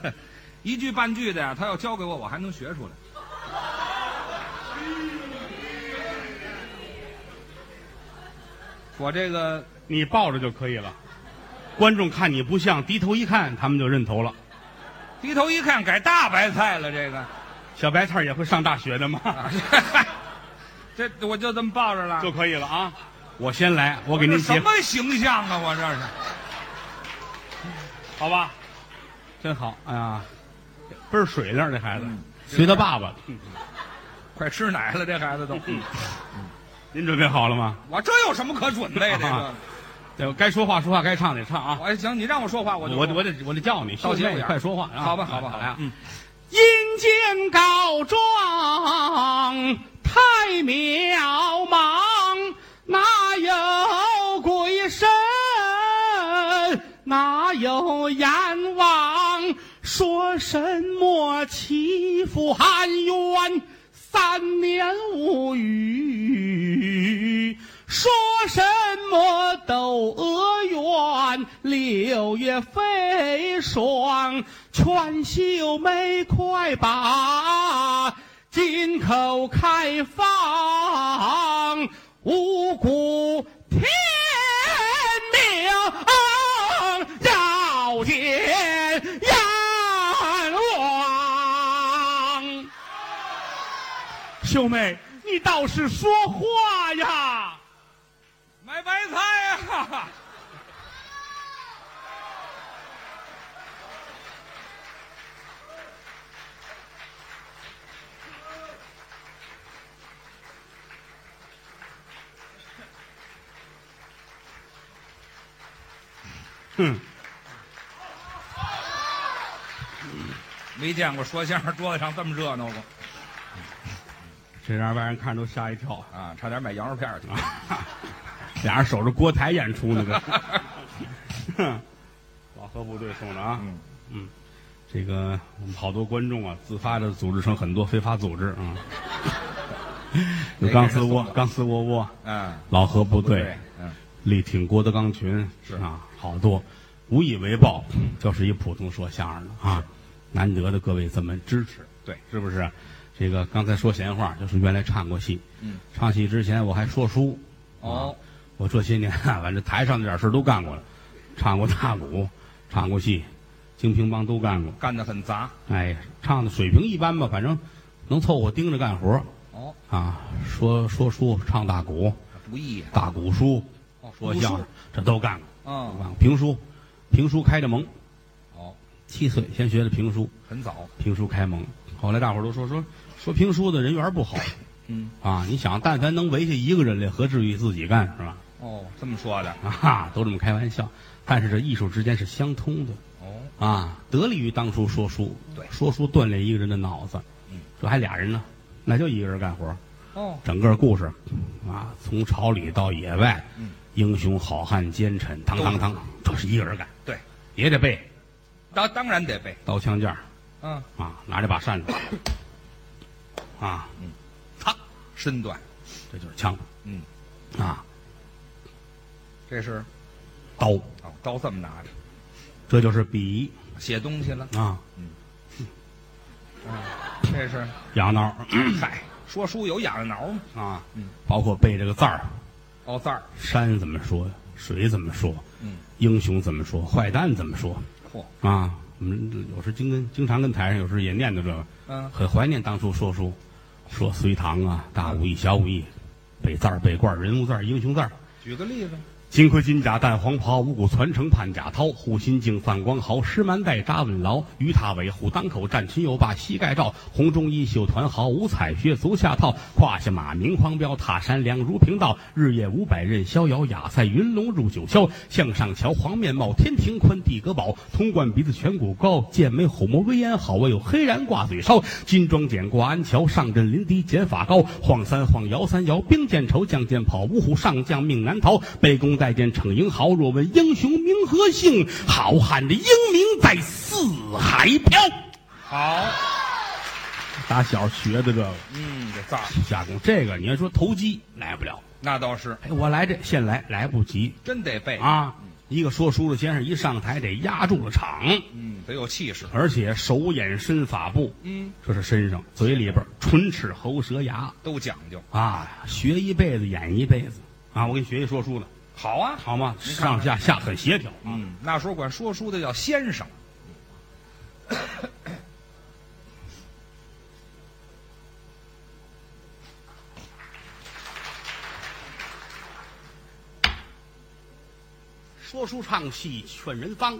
Speaker 2: 一句半句的呀，他要教给我，我还能学出来。我这个
Speaker 1: 你抱着就可以了。观众看你不像，低头一看，他们就认头了。
Speaker 2: 低头一看，改大白菜了，这个。
Speaker 1: 小白菜也会上大学的吗？
Speaker 2: 啊，这我就这么抱着了。
Speaker 1: 就可以了啊。我先来，我
Speaker 2: 我
Speaker 1: 给您
Speaker 2: 这什
Speaker 1: 结，
Speaker 2: 么形象啊？我这是
Speaker 1: 好吧？真好，哎呀，倍儿水灵儿这孩子
Speaker 2: 嗯，
Speaker 1: 随他爸爸。
Speaker 2: 快吃奶了，这孩子都。
Speaker 1: 您准备好了吗？
Speaker 2: 我这有什么可准 备的？这个
Speaker 1: 啊对，该说话说话，该唱得唱啊！
Speaker 2: 我行，你让我说话，我
Speaker 1: 我
Speaker 2: 就
Speaker 1: 我我得我得叫你，
Speaker 2: 到节
Speaker 1: 兄
Speaker 2: 目
Speaker 1: 弟
Speaker 2: 眼儿
Speaker 1: 快说话啊！
Speaker 2: 好吧，好吧，
Speaker 1: 来
Speaker 2: 好
Speaker 1: 啊
Speaker 2: 吧！！嗯，
Speaker 1: 阴间告状太渺茫，哪有鬼神？哪有阎王？说什么欺负含冤？三年无语，说什么窦娥冤，六月飞霜，全秀梅快把金口开放，五谷天明，要见阎王。秀妹，你倒是说话呀！
Speaker 2: 买白菜呀！
Speaker 1: 哼，
Speaker 2: 没见过说相声桌子上这么热闹过
Speaker 1: 这让外人看着都吓一跳。啊
Speaker 2: 啊！差点买羊肉片儿去。
Speaker 1: 俩人守着锅台演出呢，这 老何部队送的啊，
Speaker 2: 嗯
Speaker 1: 嗯这个我们好多观众啊，自发的组织成很多非法组织啊，有钢丝窝、钢丝窝窝、
Speaker 2: 嗯，
Speaker 1: 老何部队
Speaker 2: 对，、嗯，
Speaker 1: 力挺郭德纲群
Speaker 2: 是
Speaker 1: 啊，好多无以为报，就是一普通说相声的啊，难得的各位这么支持，
Speaker 2: 对，
Speaker 1: 是不是？这个刚才说闲话，就是原来唱过戏，
Speaker 2: 嗯，
Speaker 1: 唱戏之前我还说书，
Speaker 2: 哦，
Speaker 1: 我这些年啊，反正台上那点事儿都干过了，唱过大鼓，唱过戏，京乒乓都干过。
Speaker 2: 干得很杂。
Speaker 1: 哎，唱的水平一般吧，反正能凑合盯着干活儿
Speaker 2: 哦，
Speaker 1: 啊。说说书，唱大鼓，
Speaker 2: 不易呀。
Speaker 1: 大鼓书，
Speaker 2: 哦，
Speaker 1: 说
Speaker 2: 读
Speaker 1: 相
Speaker 2: 书
Speaker 1: 声，。这都干过。都
Speaker 2: 嗯，
Speaker 1: 干过评书，评书开的蒙，
Speaker 2: 哦，
Speaker 1: 七岁先学的评书，
Speaker 2: 很早。
Speaker 1: 评书开蒙。后来大伙儿都说说说评书的人缘儿不好
Speaker 2: 嗯，
Speaker 1: 啊。你想，但凡能围下一个人来，何至于自己干是吧？
Speaker 2: 哦，这么说的。
Speaker 1: 啊哈，都这么开玩笑。但是这艺术之间是相通的
Speaker 2: 哦，
Speaker 1: 啊，得力于当初说书，
Speaker 2: 对
Speaker 1: 说书锻炼一个人的脑子。
Speaker 2: 嗯，
Speaker 1: 这还俩人呢，那就一个人干活，
Speaker 2: 哦，
Speaker 1: 整个故事啊，从朝里到野外，
Speaker 2: 嗯
Speaker 1: 英雄好汉奸臣，堂堂堂，这是一个人干，
Speaker 2: 对，
Speaker 1: 也得背
Speaker 2: 当当然得背。
Speaker 1: 刀枪剑儿
Speaker 2: 嗯，
Speaker 1: 啊，拿着把扇子啊，
Speaker 2: 他身段，
Speaker 1: 这就是枪
Speaker 2: 嗯，
Speaker 1: 啊，
Speaker 2: 这是
Speaker 1: 刀，
Speaker 2: 哦，刀这么拿着，
Speaker 1: 这就是笔
Speaker 2: 写东西了。
Speaker 1: 啊，
Speaker 2: 这是，
Speaker 1: 痒挠
Speaker 2: 嗨，说书有痒挠吗？
Speaker 1: 啊
Speaker 2: 嗯，
Speaker 1: 包括背这个字儿。
Speaker 2: 哦，字儿。
Speaker 1: 山怎么说，水怎么说，
Speaker 2: 嗯，
Speaker 1: 英雄怎么说，坏蛋怎么说
Speaker 2: 嚯，
Speaker 1: 啊？我们有时经跟经常跟台上，有时也念叨这个，
Speaker 2: 嗯，
Speaker 1: 很怀念当初说书，说隋唐啊，大武艺、小武艺，背字儿、背罐儿、人物字儿、英雄字儿。
Speaker 2: 举个例子。
Speaker 1: 金盔金甲淡黄袍，五谷传承盼甲涛。护心镜泛光毫，狮蛮带扎稳牢。鱼踏尾，虎当口，战裙又把膝盖罩。红中衣袖团毫，五彩靴足下套。胯下马明黄标，踏山梁如平道。日夜五百仞，逍遥雅塞云龙入九霄。向上瞧，黄面帽，天庭宽，地阁宝。铜冠鼻子颧骨高，剑眉虎目威严好。我有黑髯挂嘴梢，金装简挂鞍桥。上阵临敌剪法高，晃三晃，摇三摇，兵见愁，将见跑。五虎上将命难逃，背弓带箭逞英豪。若问英雄名和姓，好汉的英名在四海飘。
Speaker 2: 好，
Speaker 1: 打小学的这个
Speaker 2: 嗯，这字儿
Speaker 1: 下功，这个你要说投机来不了，
Speaker 2: 那倒是
Speaker 1: 哎，我来这现来来不及
Speaker 2: 真得背。
Speaker 1: 啊！一个说书的先生一上台得压住了场，
Speaker 2: 嗯，得有气势。
Speaker 1: 而且手眼身法步，
Speaker 2: 嗯，
Speaker 1: 这是身上嘴里边儿唇齿喉舌牙
Speaker 2: 都讲究。
Speaker 1: 啊，学一辈子演一辈子啊！我给你学一说书的，
Speaker 2: 好啊，
Speaker 1: 好吗？
Speaker 2: 您看
Speaker 1: 上下下很协调啊。
Speaker 2: 嗯，那时候管说书的叫先生。
Speaker 1: 说书唱戏劝人方，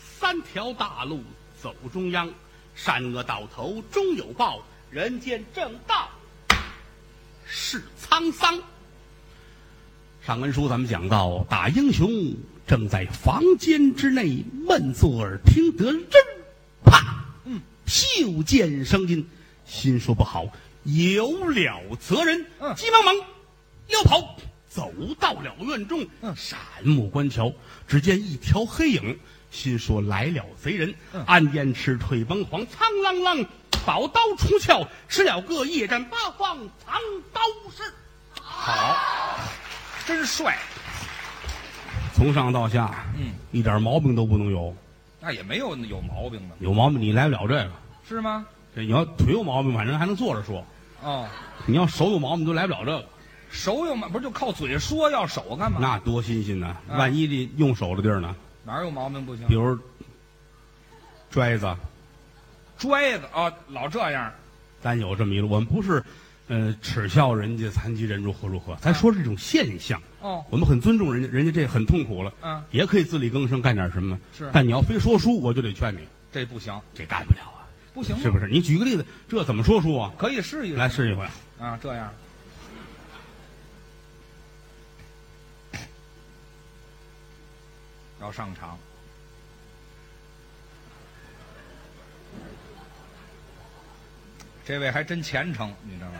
Speaker 1: 三条大路走中央，善恶到头终有报，人间正道是沧桑。上文书咱们讲到，打英雄正在房间之内闷坐耳听得真，啪，嗯，袖见声音，心说不好，有了责人，
Speaker 2: 嗯
Speaker 1: 急忙忙溜跑，走到了院中，
Speaker 2: 嗯
Speaker 1: 闪目观瞧，只见一条黑影，心说来了贼人，
Speaker 2: 嗯
Speaker 1: 暗燕翅退崩黄，苍啷啷，宝刀出鞘，吃了个夜战八方藏刀式。
Speaker 2: 好，真帅。
Speaker 1: 从上到下，
Speaker 2: 嗯，
Speaker 1: 一点毛病都不能有，
Speaker 2: 那也没有有毛病的，
Speaker 1: 有毛病你来不了这个。
Speaker 2: 是吗？
Speaker 1: 这你要腿有毛病，反正还能坐着说；
Speaker 2: 哦，
Speaker 1: 你要手有毛病，都来不了这个，
Speaker 2: 手有毛，不是就靠嘴说，要手干嘛？
Speaker 1: 那多新鲜呐！
Speaker 2: 啊
Speaker 1: 万一这用手的地儿呢，
Speaker 2: 哪有毛病不行
Speaker 1: 比？如拽子，
Speaker 2: 拽子哦，老这样。
Speaker 1: 咱有这么一路，我们不是，呃，耻笑人家残疾人如何如何，咱说是一种现象。
Speaker 2: 哦，
Speaker 1: 我们很尊重人家，人家这很痛苦了，
Speaker 2: 嗯
Speaker 1: 也可以自力更生，干点什么。
Speaker 2: 是
Speaker 1: 但你要非说书，我就得劝你，
Speaker 2: 这不行，
Speaker 1: 这干不了啊，
Speaker 2: 不行吗
Speaker 1: 是不是？你举个例子，这怎么说书啊？
Speaker 2: 可以试一
Speaker 1: 来
Speaker 2: 试
Speaker 1: 试一回，
Speaker 2: 啊，这样。要上场，这位还真虔诚，你知道吗？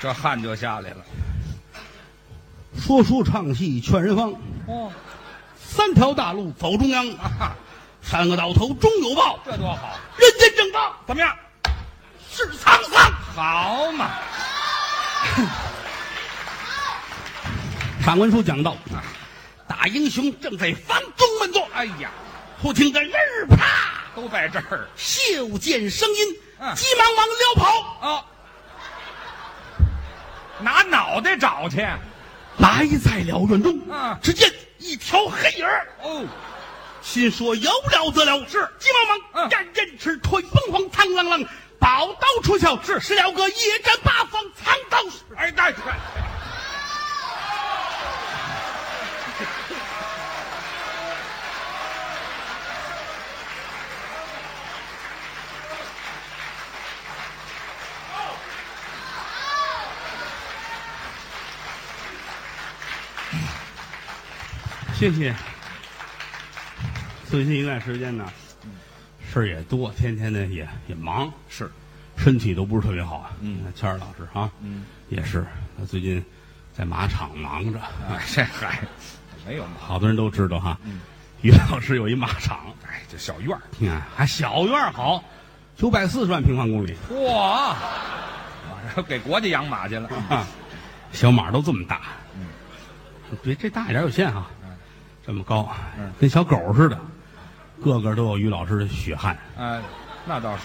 Speaker 2: 这汗就下来了。
Speaker 1: 说书唱戏劝人方，
Speaker 2: 哦，
Speaker 1: 三条大路走中央，
Speaker 2: 啊，
Speaker 1: 三个到头终有报，
Speaker 2: 这多好！
Speaker 1: 人间正道
Speaker 2: 怎么样？
Speaker 1: 是沧桑。
Speaker 2: 好嘛！
Speaker 1: 上文书讲到
Speaker 2: 啊，
Speaker 1: 大英雄正在房中闷坐，
Speaker 2: 哎呀，
Speaker 1: 忽听得日啪，啊
Speaker 2: 都在这儿
Speaker 1: 袖见声音，
Speaker 2: 嗯
Speaker 1: 急忙忙撩跑，
Speaker 2: 哦，拿脑袋找去。
Speaker 1: 来在了院中。
Speaker 2: 嗯
Speaker 1: 只见一条黑影儿，
Speaker 2: 哦，
Speaker 1: 心说有了得了，
Speaker 2: 是
Speaker 1: 急忙忙
Speaker 2: 嗯
Speaker 1: 战阵驰，退崩慌，苍啷啷，宝刀出鞘，
Speaker 2: 是
Speaker 1: 石了个野战八方，藏刀使。
Speaker 2: 哎，大快！
Speaker 1: 谢谢。最近一段时间呢，事儿也多，天天呢也也忙，
Speaker 2: 是，
Speaker 1: 身体都不是特别好啊。
Speaker 2: 嗯，
Speaker 1: 谦儿老师啊，
Speaker 2: 嗯，
Speaker 1: 也是，他最近在马场忙着，
Speaker 2: 哎，这嗨，没有嘛，
Speaker 1: 好多人都知道哈。
Speaker 2: 嗯
Speaker 1: 于老师有一马场，
Speaker 2: 哎，这小院儿。
Speaker 1: 你看还小院儿好，九百四十万平方公里，
Speaker 2: 嚯！我说 给国家养马去了。
Speaker 1: 啊，小马都这么大，
Speaker 2: 嗯
Speaker 1: 别这大一点有限啊，这么高
Speaker 2: 嗯，
Speaker 1: 跟小狗似的，个个都有于老师的血汗。
Speaker 2: 哎，那倒是。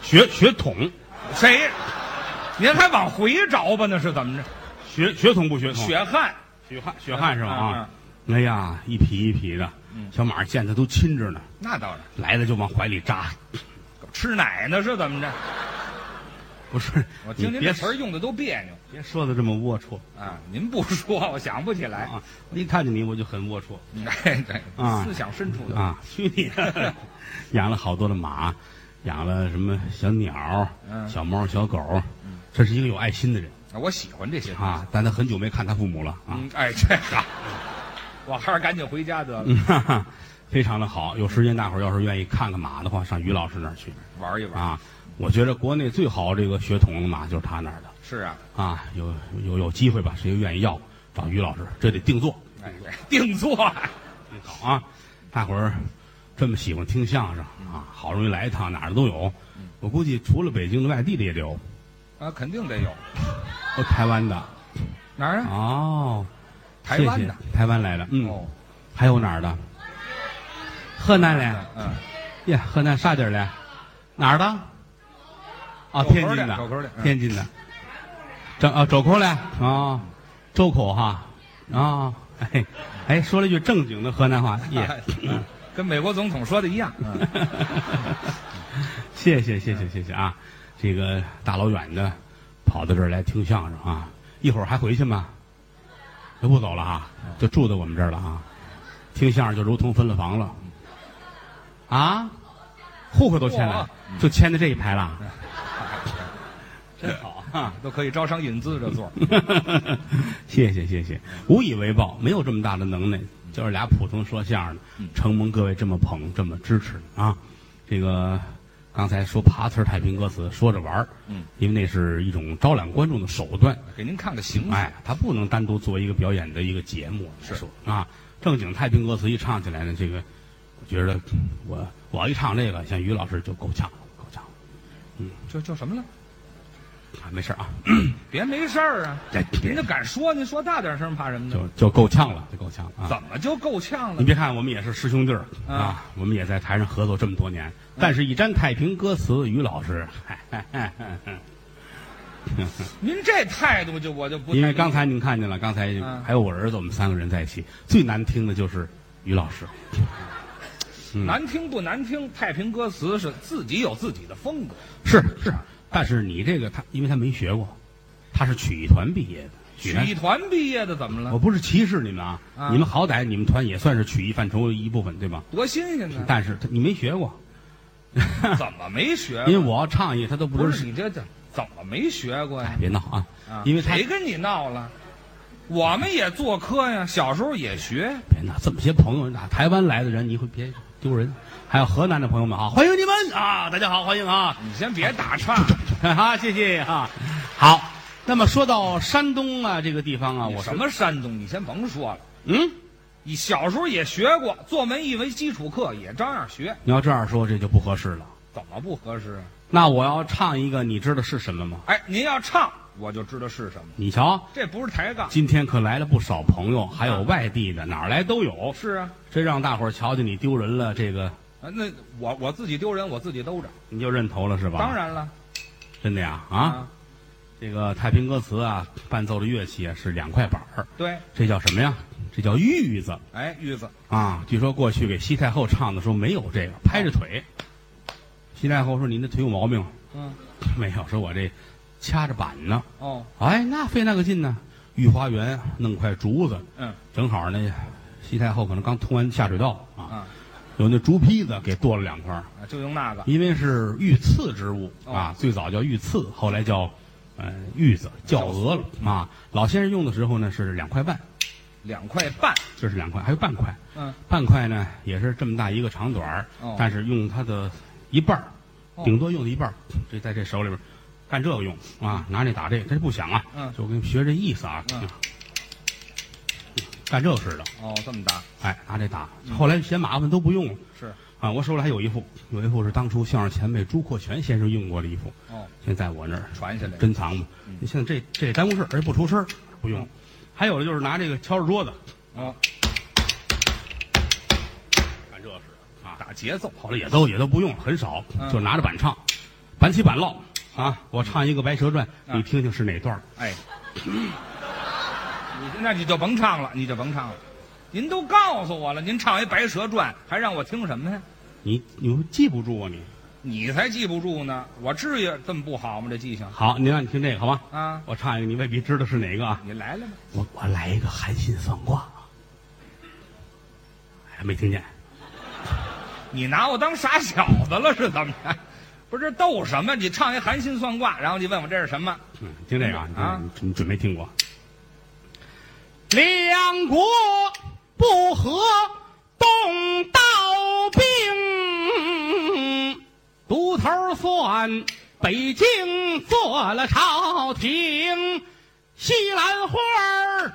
Speaker 1: 血血统，
Speaker 2: 谁？您还往回找吧？那是怎么着？
Speaker 1: 血血统不血统？
Speaker 2: 血汗。
Speaker 1: 血汗血汗是吧？
Speaker 2: 嗯
Speaker 1: 啊，哎呀，一匹一匹的，小马见它都亲着呢，
Speaker 2: 那当然。
Speaker 1: 来了就往怀里扎。
Speaker 2: 吃奶呢是怎么着？
Speaker 1: 不是，
Speaker 2: 我听
Speaker 1: 你
Speaker 2: 您
Speaker 1: 别
Speaker 2: 这词儿用的都别扭
Speaker 1: 别说的这么龌龊
Speaker 2: 啊！您不说，我想不起来。
Speaker 1: 啊！我一看见你我就很龌龊
Speaker 2: 哎，对
Speaker 1: 嗯啊，
Speaker 2: 思想深处的
Speaker 1: 啊！去你的！ 养了好多的马，养了什么小鸟、
Speaker 2: 嗯
Speaker 1: 小猫、小狗，这是一个有爱心的人
Speaker 2: 啊我喜欢这些。
Speaker 1: 啊！但他很久没看他父母了啊。
Speaker 2: 嗯，哎，这好，我还是赶紧回家得了，
Speaker 1: 嗯 哈哈，非常的好。有时间，大伙儿要是愿意看看马的话，上于老师那儿去
Speaker 2: 玩一玩。
Speaker 1: 啊。我觉得国内最好这个血统的马就是他那儿的
Speaker 2: 是啊，
Speaker 1: 啊。有有有机会吧，谁愿意要找于老师，这得定做
Speaker 2: 哎，对定做啊
Speaker 1: 定好啊。大伙儿这么喜欢听相声啊，好容易来一趟，哪儿都有。我估计除了北京的，外地的也得有，
Speaker 2: 啊，肯定得有。
Speaker 1: 哦，台湾的
Speaker 2: 哪儿啊？
Speaker 1: 哦，
Speaker 2: 台湾的
Speaker 1: 谢。谢台湾来的，嗯，
Speaker 2: 哦，
Speaker 1: 还有哪儿的？河南的。
Speaker 2: 嗯，
Speaker 1: 呀，河南沙地儿的，哪儿的？啊，
Speaker 2: 周口
Speaker 1: 天
Speaker 2: 的
Speaker 1: 津的，
Speaker 2: 周口的嗯
Speaker 1: 天津的，周啊，周口的啊，周口哈啊，哎哎，说了一句正经的河南话， 耶，
Speaker 2: 跟美国总统说的一样。嗯，
Speaker 1: 谢谢谢谢谢谢啊，这个大老远的跑到这儿来听相声啊，一会儿还回去吗？就不走了啊，就住在我们这儿了啊，听相声就如同分了房了，啊，户口都迁
Speaker 2: 哇
Speaker 1: 了，就迁到这一排了。嗯 真好啊！
Speaker 2: 都可以招商引资这座儿。
Speaker 1: 谢谢谢谢，无以为报，没有这么大的能耐，就是俩普通说相声的，
Speaker 2: 嗯
Speaker 1: 承蒙各位这么捧，这么支持啊！这个刚才说爬词儿太平歌词，说着玩儿，
Speaker 2: 嗯，
Speaker 1: 因为那是一种招揽观众的手段，
Speaker 2: 给您看个形式。
Speaker 1: 哎，它不能单独作为一个表演的一个节目来
Speaker 2: 嗯是
Speaker 1: 说啊。正经太平歌词一唱起来呢，这个我觉得我我要一唱这个，像于老师就够呛了，够呛了
Speaker 2: 叫叫什么了？
Speaker 1: 啊，没事儿啊，
Speaker 2: 别没事儿啊！
Speaker 1: 哎
Speaker 2: 您这敢说，您说大点声，怕什么呢？
Speaker 1: 就就够呛了，就够呛了啊。
Speaker 2: 怎么就够呛
Speaker 1: 你
Speaker 2: 了？
Speaker 1: 别看我们也是师兄弟儿
Speaker 2: 啊
Speaker 1: 啊，我们也在台上合作这么多年，但是一沾太平歌词，于老师，
Speaker 2: 嗯您这态度就我就不太
Speaker 1: 因为刚才您看见了，刚才
Speaker 2: 嗯
Speaker 1: 还有我儿子，我们三个人在一起，最难听的就是于老师。嗯
Speaker 2: 难听不难听，太平歌词是自己有自己的风格。
Speaker 1: 是是，
Speaker 2: 嗯
Speaker 1: 但是你这个他，因为他没学过，他是曲艺团毕业的。
Speaker 2: 曲
Speaker 1: 团
Speaker 2: 艺，团毕业的怎么
Speaker 1: 我
Speaker 2: 了？
Speaker 1: 不是歧视你们啊，
Speaker 2: 啊
Speaker 1: 你们好歹你们团也算是曲艺范畴的一部分，对吧？
Speaker 2: 多新鲜呢！
Speaker 1: 但是他你没学过，
Speaker 2: 怎么没学过？
Speaker 1: 因为我要唱一，他都不
Speaker 2: 嗯不
Speaker 1: 知
Speaker 2: 是你这怎怎么没学过呀
Speaker 1: 哎，？别闹啊
Speaker 2: 啊，
Speaker 1: 因为他
Speaker 2: 谁跟你闹了？我们也做科呀，小时候也学。
Speaker 1: 别闹，哎这么些朋友，打台湾来的人，你会别丢人。还有河南的朋友们啊，欢迎你们啊！大家好，欢迎啊！
Speaker 2: 你先别打岔，
Speaker 1: 啊，谢谢啊。好，那么说到山东啊这个地方啊，
Speaker 2: 你
Speaker 1: 我是
Speaker 2: 什么山东？你先甭说了。
Speaker 1: 嗯，
Speaker 2: 你小时候也学过，作文、译文基础课也照样学，
Speaker 1: 你要这样说这就不合适了。
Speaker 2: 怎么不合适啊？
Speaker 1: 那我要唱一个，你知道是什么吗？
Speaker 2: 哎，您要唱，我就知道是什么。
Speaker 1: 你瞧，
Speaker 2: 这不是抬杠，
Speaker 1: 今天可来了不少朋友，还有外地的，哪儿来都有。
Speaker 2: 是啊。
Speaker 1: 这让大伙儿瞧见你丢人了，这个
Speaker 2: 啊那我我自己丢人，我自己兜着。
Speaker 1: 你就认头了是吧？
Speaker 2: 当，然了
Speaker 1: 真的呀啊！，这个太平歌词啊，伴奏的乐器啊是两块板儿，
Speaker 2: 对，
Speaker 1: 这叫什么呀？这叫玉子
Speaker 2: 哎，玉子，
Speaker 1: 啊！据说过去给西太后唱的时候没有这个，拍着腿。西太后说：“您的腿有毛病。啊
Speaker 2: 嗯，”
Speaker 1: 没有，说我这掐着板呢。
Speaker 2: 哦，
Speaker 1: 哎，那费那个劲呢？御花园弄块竹子，
Speaker 2: 嗯，
Speaker 1: 正好那西太后可能刚通完下水道啊，
Speaker 2: 啊，
Speaker 1: 有那竹坯子给剁了两块儿，
Speaker 2: 啊就用那个，
Speaker 1: 因为是御赐之物
Speaker 2: 哦
Speaker 1: 啊，最早叫御赐，后来叫呃玉子叫鹅了
Speaker 2: 嗯
Speaker 1: 啊。老先生用的时候呢是两块半，
Speaker 2: 两块半，
Speaker 1: 这是两块，还有半块，
Speaker 2: 嗯，
Speaker 1: 半块呢也是这么大一个长短儿
Speaker 2: 哦，
Speaker 1: 但是用它的一半儿
Speaker 2: 哦，
Speaker 1: 顶多用的一半儿，这在这手里边儿干这个用啊，拿这打这，它是不响啊，
Speaker 2: 嗯
Speaker 1: 就我跟你学这意思啊
Speaker 2: 嗯，
Speaker 1: 干这个似的，
Speaker 2: 哦，这么大，
Speaker 1: 哎，拿这打，后来嫌麻烦都不用了。
Speaker 2: 嗯是，
Speaker 1: 啊，我手里还有一副，有一副是当初相声前辈朱阔全先生用过的一副，
Speaker 2: 哦，
Speaker 1: 现在我那儿
Speaker 2: 传下来，嗯
Speaker 1: 珍藏吧。你现在这这耽误事儿，而且不出声儿，不用。还有的就是拿这个敲着桌子，
Speaker 2: 哦，
Speaker 1: 干这是啊，
Speaker 2: 打节奏，
Speaker 1: 后来也都也都不用，很少，
Speaker 2: 嗯
Speaker 1: 就拿着板唱，板起板落啊。我唱一个《白蛇传》，
Speaker 2: 嗯
Speaker 1: 你听听是哪段儿？
Speaker 2: 哎， 你那你就甭唱了，你就甭唱了，您都告诉我了，您唱一《白蛇传》，还让我听什么呀？
Speaker 1: 你你记不住啊你？
Speaker 2: 你才记不住呢，我至于这么不好吗？这记性
Speaker 1: 好，您让你听这个好吗？
Speaker 2: 啊，
Speaker 1: 我唱一个，你未必知道是哪个啊。
Speaker 2: 你来了吧？
Speaker 1: 我我来一个含辛算卦啊，哎，没听见。
Speaker 2: 你拿我当傻小子了是怎么着？ 不是逗什么？你唱一含辛算卦，然后你问我这是什么？
Speaker 1: 嗯，听这个啊，
Speaker 2: 啊
Speaker 1: 你你准没听过？两国不和，动刀兵，独头算北京做了朝廷，西兰花儿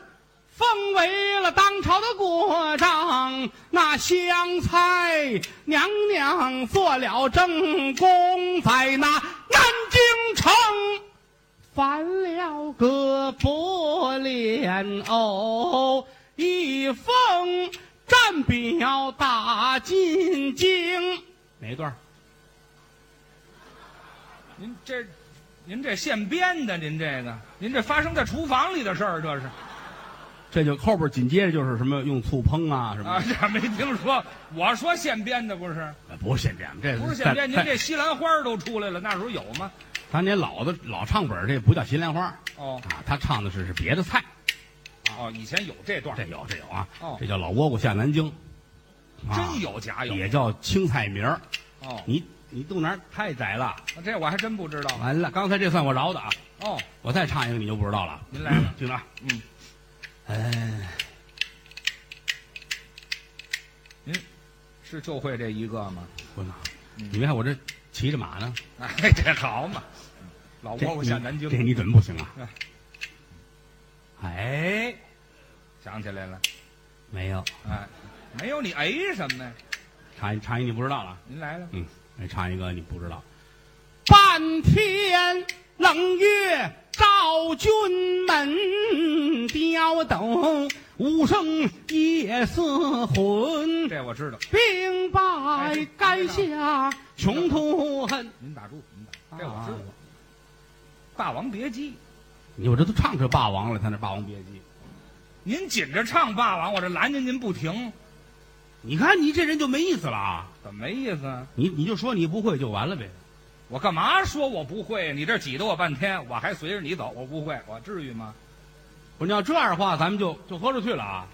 Speaker 1: 封为了当朝的国丈，那香菜娘娘做了正宫，在那南京城。翻了个薄莲藕，一封战表打进京。哪一段儿？
Speaker 2: 您这，您这现编的，您这个，您这发生在厨房里的事儿，这是啊
Speaker 1: 这就后边紧接着就是什么用醋烹啊什么
Speaker 2: 啊，
Speaker 1: 的，
Speaker 2: 这没听说。我说现编的不是，
Speaker 1: 不是现编，这
Speaker 2: 不是现编。您
Speaker 1: 在
Speaker 2: 这西兰花儿都出来了，那时候有吗？
Speaker 1: 当年老的老唱本儿，这不叫新莲花啊，
Speaker 2: 哦
Speaker 1: 他唱的是是别的菜，
Speaker 2: 哦，以前有这段
Speaker 1: 这，有这有啊
Speaker 2: 哦，
Speaker 1: 这叫老倭瓜下南京，啊
Speaker 2: 真有假有
Speaker 1: 也叫青菜名儿
Speaker 2: 哦，
Speaker 1: 你你肚腩太窄了，
Speaker 2: 这我还真不知道。
Speaker 1: 完了，刚才这算我饶的啊，
Speaker 2: 哦，
Speaker 1: 我再唱一个你就不知道了。
Speaker 2: 您来了，
Speaker 1: 听着啊，
Speaker 2: 嗯，
Speaker 1: 哎。
Speaker 2: 是就会这一个吗？
Speaker 1: 我呢？
Speaker 2: 嗯
Speaker 1: 你别看我这骑着马呢，
Speaker 2: 哎，这好嘛，老
Speaker 1: 这嗯
Speaker 2: 倭瓜下南
Speaker 1: 这
Speaker 2: 京，
Speaker 1: 你准不行啊
Speaker 2: 哎！
Speaker 1: 哎，
Speaker 2: 想起来了。
Speaker 1: 没有，
Speaker 2: 哎，没有你哎什么呀？
Speaker 1: 唱一唱一你不知道了，
Speaker 2: 您来了，
Speaker 1: 嗯，来唱一个你不知道。半天冷月照军门，刁斗无声夜色魂。
Speaker 2: 这我知道。
Speaker 1: 兵败
Speaker 2: 哎这
Speaker 1: 垓下穷途恨。
Speaker 2: 您打住，您打，
Speaker 1: 啊
Speaker 2: 这我知道。霸王别姬》，
Speaker 1: 你我这都唱成霸王了，他那霸王别姬。
Speaker 2: 您紧着唱《霸王》，我这拦着您不停。
Speaker 1: 你看你这人就没意思了啊！
Speaker 2: 怎么没意思啊？
Speaker 1: 你你就说你不会就完了呗。
Speaker 2: 我干嘛说我不会呀？你这挤得我半天，我还随着你走，我不会，我至于吗？
Speaker 1: 不是你要这样的话，咱们就就豁出去了啊！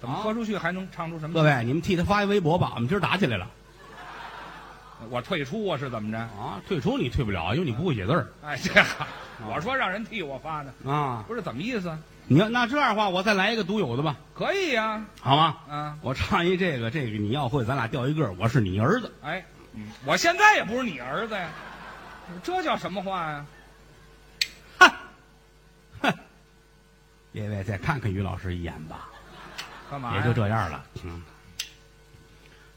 Speaker 2: 怎么
Speaker 1: 啊
Speaker 2: 豁出去还能唱出什么？
Speaker 1: 各位，你们替他发一微博吧，我们今儿打起来了
Speaker 2: 我退出啊，是怎么着？
Speaker 1: 啊！退出你退不了，因为你不会写字儿
Speaker 2: 哎，这个我说让人替我发呢，
Speaker 1: 啊。
Speaker 2: 不是怎么意思啊？
Speaker 1: 你要那这样的话，我再来一个独有的吧，
Speaker 2: 可以呀、
Speaker 1: 好吗？
Speaker 2: 啊，啊，
Speaker 1: 我唱一这个，这个你要会，咱俩掉一个儿。我是你儿子，
Speaker 2: 哎，嗯我现在也不是你儿子呀，这叫什么话呀？
Speaker 1: 哼，哼，列位再看看于老师一眼吧，
Speaker 2: 干嘛
Speaker 1: 也
Speaker 2: 哎呀？
Speaker 1: 就这样了。嗯，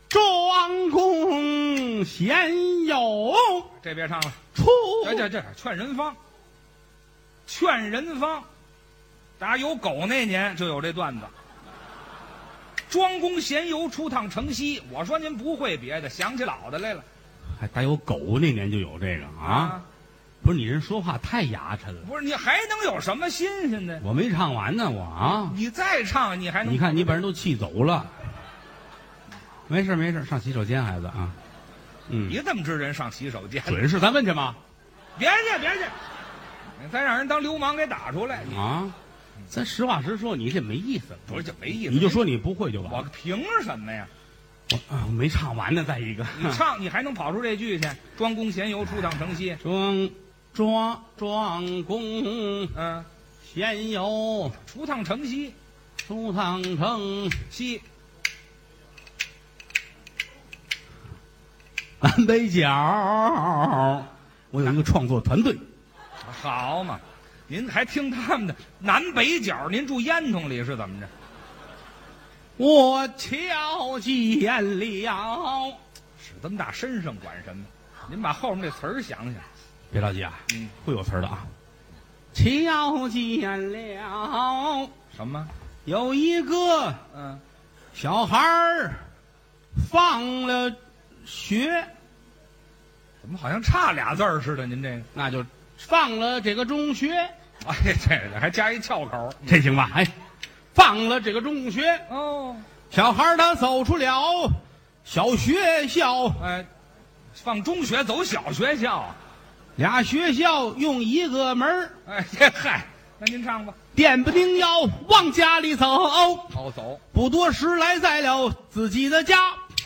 Speaker 1: 庄公贤友
Speaker 2: 这别唱了，
Speaker 1: 出，
Speaker 2: 这这这劝人方，劝人方，打有狗那年就有这段子。庄公闲游出趟城西，我说您不会别的，想起老的来了
Speaker 1: 还带有狗那年就有这个啊！不是你人说话太牙碜了，
Speaker 2: 不是你还能有什么新鲜的？
Speaker 1: 我没唱完呢，我啊，
Speaker 2: 你再唱，你还能
Speaker 1: 你看你把人都气走了。没事没事，上洗手间，孩子啊，嗯，
Speaker 2: 你怎么知人上洗手间？
Speaker 1: 准是咱问去吗？
Speaker 2: 别去别去，你再让人当流氓给打出来，你
Speaker 1: 啊，咱实话实说，你这没意思，
Speaker 2: 嗯不是就没意思？
Speaker 1: 你就说你不会就完
Speaker 2: 我
Speaker 1: 了。
Speaker 2: 凭什么呀？
Speaker 1: 我啊我没唱完呢，再一个，
Speaker 2: 你唱你还能跑出这句去？庄公闲游出趟城西，
Speaker 1: 庄庄庄公
Speaker 2: 嗯、
Speaker 1: 闲游
Speaker 2: 出趟城西
Speaker 1: 出趟城，
Speaker 2: 西，
Speaker 1: 南北角。我有一个创作团队，
Speaker 2: 啊好嘛，您还听他们的南北角？您住烟囱里是怎么着？
Speaker 1: 我瞧见了。
Speaker 2: 使这么大身上管什么？您把后面这词儿想想。
Speaker 1: 别着急啊，
Speaker 2: 嗯，
Speaker 1: 会有词儿的啊。瞧见了，
Speaker 2: 什么？
Speaker 1: 有一个
Speaker 2: 嗯、
Speaker 1: 小孩儿放了学，
Speaker 2: 怎么好像差俩字儿似的？您这个，
Speaker 1: 那就放了这个中学，
Speaker 2: 哎，这个还加一翘口。
Speaker 1: 这行吧？哎，放了这个中学，
Speaker 2: 哦，
Speaker 1: 小孩儿他走出了小学校，
Speaker 2: 哎，放中学走小学校。啊
Speaker 1: 俩学校用一个门儿，
Speaker 2: 哎，这嗨，那您唱吧。
Speaker 1: 电不丁腰往家里走，
Speaker 2: 哦，走，
Speaker 1: 不多时来在了自己的家。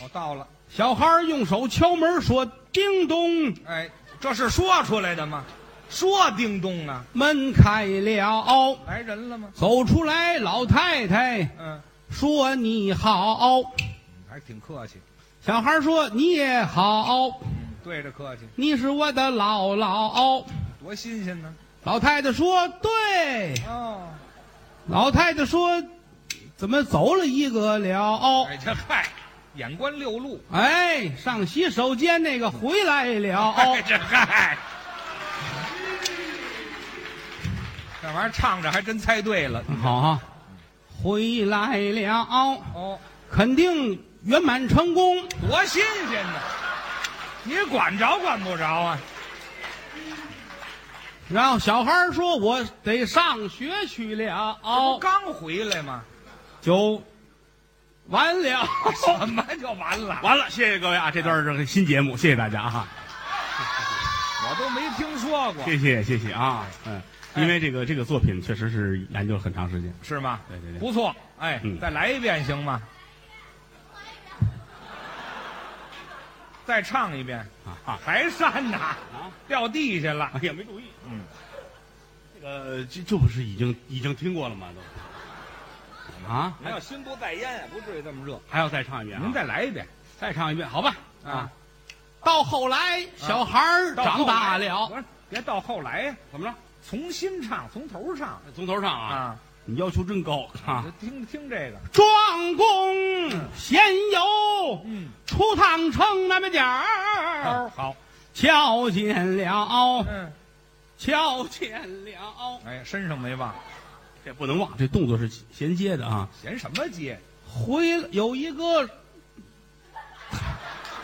Speaker 2: 我、到了。
Speaker 1: 小孩儿用手敲门说：“叮咚，
Speaker 2: 哎，这是说出来的吗？说叮咚啊，
Speaker 1: 门开了。
Speaker 2: 来人了吗”？
Speaker 1: 走出来，老太太
Speaker 2: 嗯，
Speaker 1: 说：“你好。
Speaker 2: 还挺客气，”
Speaker 1: 小孩儿说：“你也好，
Speaker 2: 嗯对着客气，
Speaker 1: 你是我的姥姥。
Speaker 2: 多新鲜呢。”
Speaker 1: 老太太说：“对。
Speaker 2: 哦，”
Speaker 1: 老太太说：“怎么走了一个了
Speaker 2: 哎，这嗨，眼观六路。？”
Speaker 1: 哎，上洗手间那个回来 了。
Speaker 2: 哎，这嗨，这玩意儿唱着还真猜对了。
Speaker 1: 好啊，回来了，
Speaker 2: 哦，
Speaker 1: 肯定圆满成功。
Speaker 2: 多新鲜呢！你管着管不着啊？
Speaker 1: 然后小孩儿说：“我得上学去了，
Speaker 2: 这不刚回来吗？
Speaker 1: 就完了。
Speaker 2: 怎么就完了”？
Speaker 1: 完了，谢谢各位啊！这段是个新节目，谢谢大家啊！
Speaker 2: 我都没听说过，
Speaker 1: 谢谢谢谢啊！嗯，
Speaker 2: 哎
Speaker 1: 因为这个这个作品确实是研究了很长时间。
Speaker 2: 是吗？
Speaker 1: 对对对，
Speaker 2: 不错，哎，
Speaker 1: 嗯
Speaker 2: 再来一遍行吗？再唱一遍，
Speaker 1: 啊啊
Speaker 2: 还删 呐？
Speaker 1: 啊！
Speaker 2: 掉地下了。
Speaker 1: 哎呀，没注意。
Speaker 2: 嗯，
Speaker 1: 这个这这不是已经已经听过了吗？都啊，
Speaker 2: 还要心不在焉，啊不至于这么热。
Speaker 1: 还要再唱一遍啊、
Speaker 2: 您再来一遍
Speaker 1: 再唱一遍，好吧？
Speaker 2: 啊！
Speaker 1: 到后来，小孩儿
Speaker 2: 到后
Speaker 1: 长大
Speaker 2: 来
Speaker 1: 了，
Speaker 2: 不是别到后来呀，
Speaker 1: 怎么着？
Speaker 2: 从新唱，从头唱
Speaker 1: 从头上啊！
Speaker 2: 啊！嗯
Speaker 1: 你要求真高啊！
Speaker 2: 就听听这个，
Speaker 1: 庄公闲游
Speaker 2: 嗯，
Speaker 1: 出趟城南边角
Speaker 2: 好
Speaker 1: 儿，
Speaker 2: 嗯好，
Speaker 1: 瞧见了，
Speaker 2: 嗯，
Speaker 1: 瞧见了，
Speaker 2: 哎，身上没忘，
Speaker 1: 这不能忘，这动作是衔接的啊。
Speaker 2: 嫌什么街？
Speaker 1: 回了有一 个，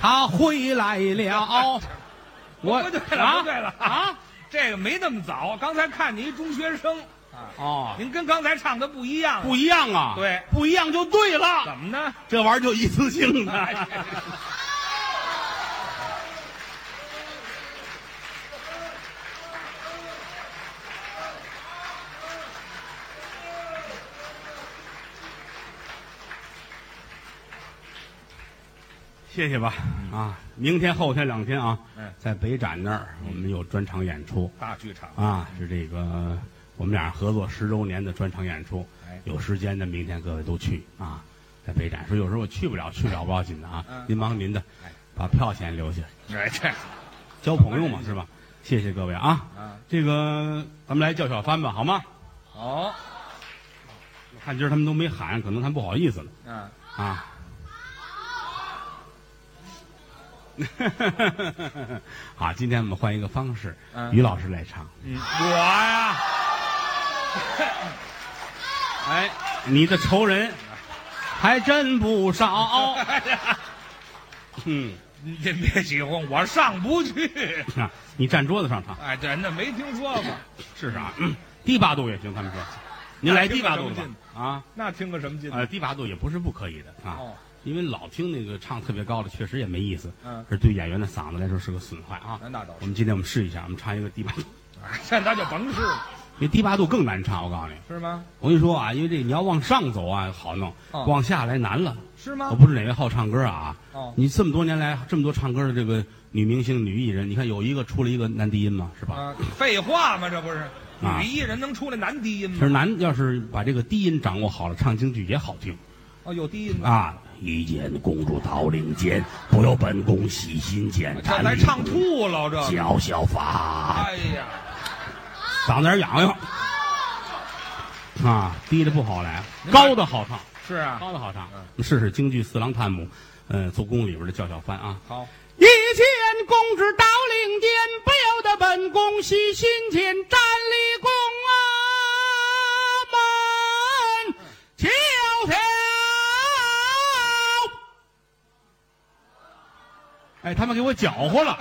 Speaker 1: 他回来 了，我
Speaker 2: 不对了
Speaker 1: 啊
Speaker 2: 不对了
Speaker 1: 啊！
Speaker 2: 这个没那么早，刚才看你一中学生，啊，
Speaker 1: 哦，
Speaker 2: 您跟刚才唱的不一样，
Speaker 1: 不一样啊，
Speaker 2: 对
Speaker 1: 不一样就对了，
Speaker 2: 怎么呢？
Speaker 1: 这玩意儿就一次性的。
Speaker 2: 哎
Speaker 1: 谢谢吧，啊，明天后天两天啊
Speaker 2: 嗯，
Speaker 1: 在北展那儿我们有专场演出
Speaker 2: 大剧场，
Speaker 1: 啊，是这个我们俩合作十周年的专场演出
Speaker 2: 哎，
Speaker 1: 有时间的明天各位都去啊，在北展说有时候我去不了，去不了不要紧的啊
Speaker 2: 嗯，
Speaker 1: 您忙您的
Speaker 2: 哎，
Speaker 1: 把票钱留下，
Speaker 2: 哎这
Speaker 1: 交朋友嘛是吧？谢谢各位啊，
Speaker 2: 啊，
Speaker 1: 这个咱们来叫小帆吧，好吗？
Speaker 2: 哦，
Speaker 1: 我看今儿他们都没喊，可能他们不好意思了
Speaker 2: 嗯，
Speaker 1: 啊。 啊，今天我们换一个方式，
Speaker 2: 嗯
Speaker 1: 于老师来唱。
Speaker 2: 嗯我呀， 哎，
Speaker 1: 你的仇人还真不少。嗯，
Speaker 2: 您您别起哄，我上不去。
Speaker 1: 啊，你站桌子上唱
Speaker 2: 哎，对，那没听说过，
Speaker 1: 试试啊， 嗯低八度也行。他们说，您来低八度的吧
Speaker 2: 听着
Speaker 1: 啊，
Speaker 2: 那听个什么劲？
Speaker 1: 呃，低八度也不是不可以的啊
Speaker 2: 哦，
Speaker 1: 因为老听那个唱特别高的，确实也没意思。
Speaker 2: 嗯
Speaker 1: 这对演员的嗓子来说是个损害啊
Speaker 2: 那。那倒
Speaker 1: 我
Speaker 2: 是，
Speaker 1: 们今天我们试一下，我们唱一个低八度，
Speaker 2: 哎现在就甭试了，
Speaker 1: 因为低八度更难唱。我告诉你，
Speaker 2: 是吗？
Speaker 1: 我跟你说啊，因为这你要往上走啊好弄，
Speaker 2: 哦
Speaker 1: 往下来难了。
Speaker 2: 是吗
Speaker 1: 我？不是哪位好唱歌啊，
Speaker 2: 哦
Speaker 1: 你这么多年来这么多唱歌的这个女明星、女艺人，你看有一个出了一个男低音嘛，是吧？
Speaker 2: 啊，废话嘛，这不是女艺人能出来男低音
Speaker 1: 其
Speaker 2: 吗
Speaker 1: 实？男要啊是把这个低音掌握好了，唱京剧也好听
Speaker 2: 哦，有低音吗？
Speaker 1: 啊。一见公主桃领间，不由本宫喜心间。
Speaker 2: 这来唱吐了，这个
Speaker 1: 小小法，
Speaker 2: 哎呀，
Speaker 1: 嗓子眼痒痒啊，低的不好来，
Speaker 2: 明白
Speaker 1: 高的好唱，
Speaker 2: 是啊，
Speaker 1: 高的好唱。我
Speaker 2: 嗯
Speaker 1: 们试试京剧《四郎探母》，呃，做工里边的叫小番啊。
Speaker 2: 好，
Speaker 1: 一见公主到领间，不由得本宫喜心间，站立宫阿门迢迢。哎，他们给我搅和 了，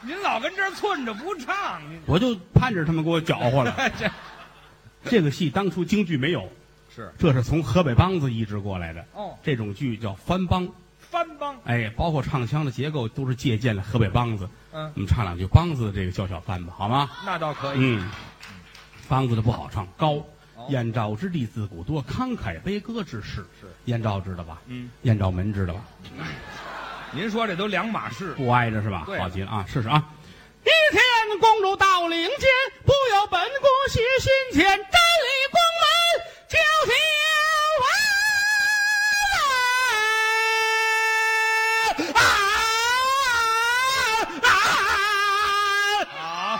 Speaker 2: 您老跟这儿寸着不唱，您
Speaker 1: 我就盼着他们给我搅和 了。
Speaker 2: 这
Speaker 1: 这个戏当初京剧没有，
Speaker 2: 是
Speaker 1: 这是从河北梆子移植过来的。
Speaker 2: 哦，
Speaker 1: 这种剧叫翻梆，
Speaker 2: 翻帮，
Speaker 1: 哎，包括唱腔的结构都是借鉴了河北梆子。
Speaker 2: 嗯，
Speaker 1: 我们唱两句梆子的这个叫小翻吧，好吗？
Speaker 2: 那倒可以，
Speaker 1: 嗯，梆子的不好唱，高。
Speaker 2: 哦
Speaker 1: 燕赵之地自古多，慷慨悲歌之士。
Speaker 2: 是
Speaker 1: 燕赵知道吧？
Speaker 2: 嗯，
Speaker 1: 燕赵门知道吧？
Speaker 2: 您说这都两码事，
Speaker 1: 不挨着是吧？
Speaker 2: 对
Speaker 1: 好极了啊，试试啊！一天公主到领间，不由本宫喜心间，站立宫门九条啊啊啊！
Speaker 2: 啊，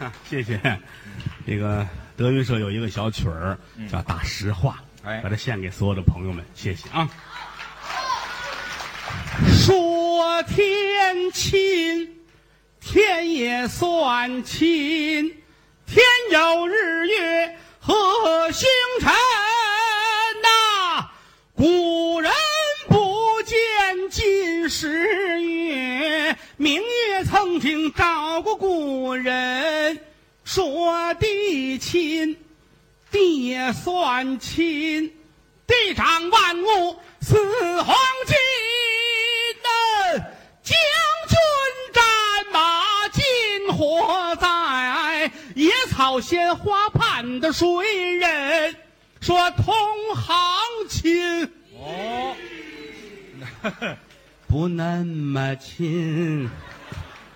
Speaker 1: 谢谢。这个德云社有一个小曲儿叫《大实话》，
Speaker 2: 哎
Speaker 1: 把它献给所有的朋友们，谢谢啊。说天亲，天也算亲，天有日月和星辰呐、古人不见近时月，明月曾经照过古人。说地亲，地也算亲，地长万物似黄金。将军战马金火在，野草鲜花盼的谁人？说同行亲
Speaker 2: 哦，
Speaker 1: 不那么亲，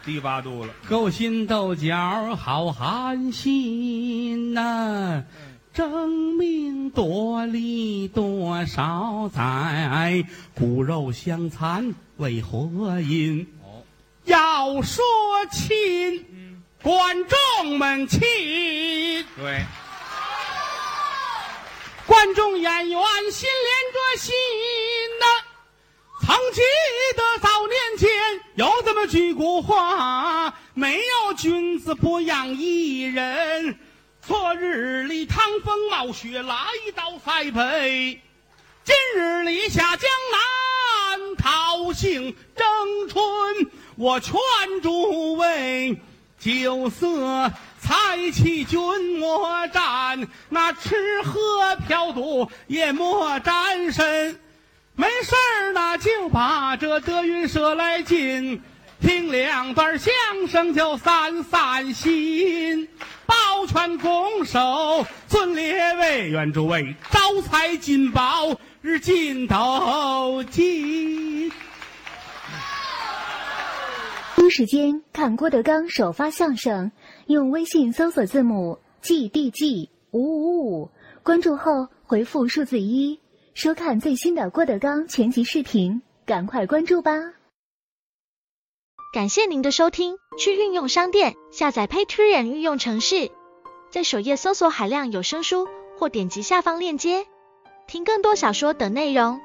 Speaker 2: 低八度了，
Speaker 1: 勾心斗角好寒心呐、争名夺利多少载，骨肉相残为何因？
Speaker 2: 哦，
Speaker 1: 要说亲，
Speaker 2: 嗯，
Speaker 1: 观众们亲，
Speaker 2: 对，
Speaker 1: 观众演员心连着心呐、曾记得早年间有这么句古话：没有君子不养艺人。昨日里趟风冒雪来到塞北，今日里下江南讨杏争春。我劝诸位，酒色财气君莫沾，那吃喝嫖赌也莫沾身。没事儿呢，就把这德云社来进，听两段相声就散散心。抱拳拱手，尊列位，愿诸位招财进宝，日进斗金。
Speaker 3: 第一时间看郭德纲首发相声，用微信搜索字母 GDG 五五五，关注后回复数字一，收看最新的郭德纲全集视频，赶快关注吧！
Speaker 4: 感谢您的收听，去应用商店下载 Patreon 应用城市，在首页搜索海量有声书，或点击下方链接听更多小说等内容。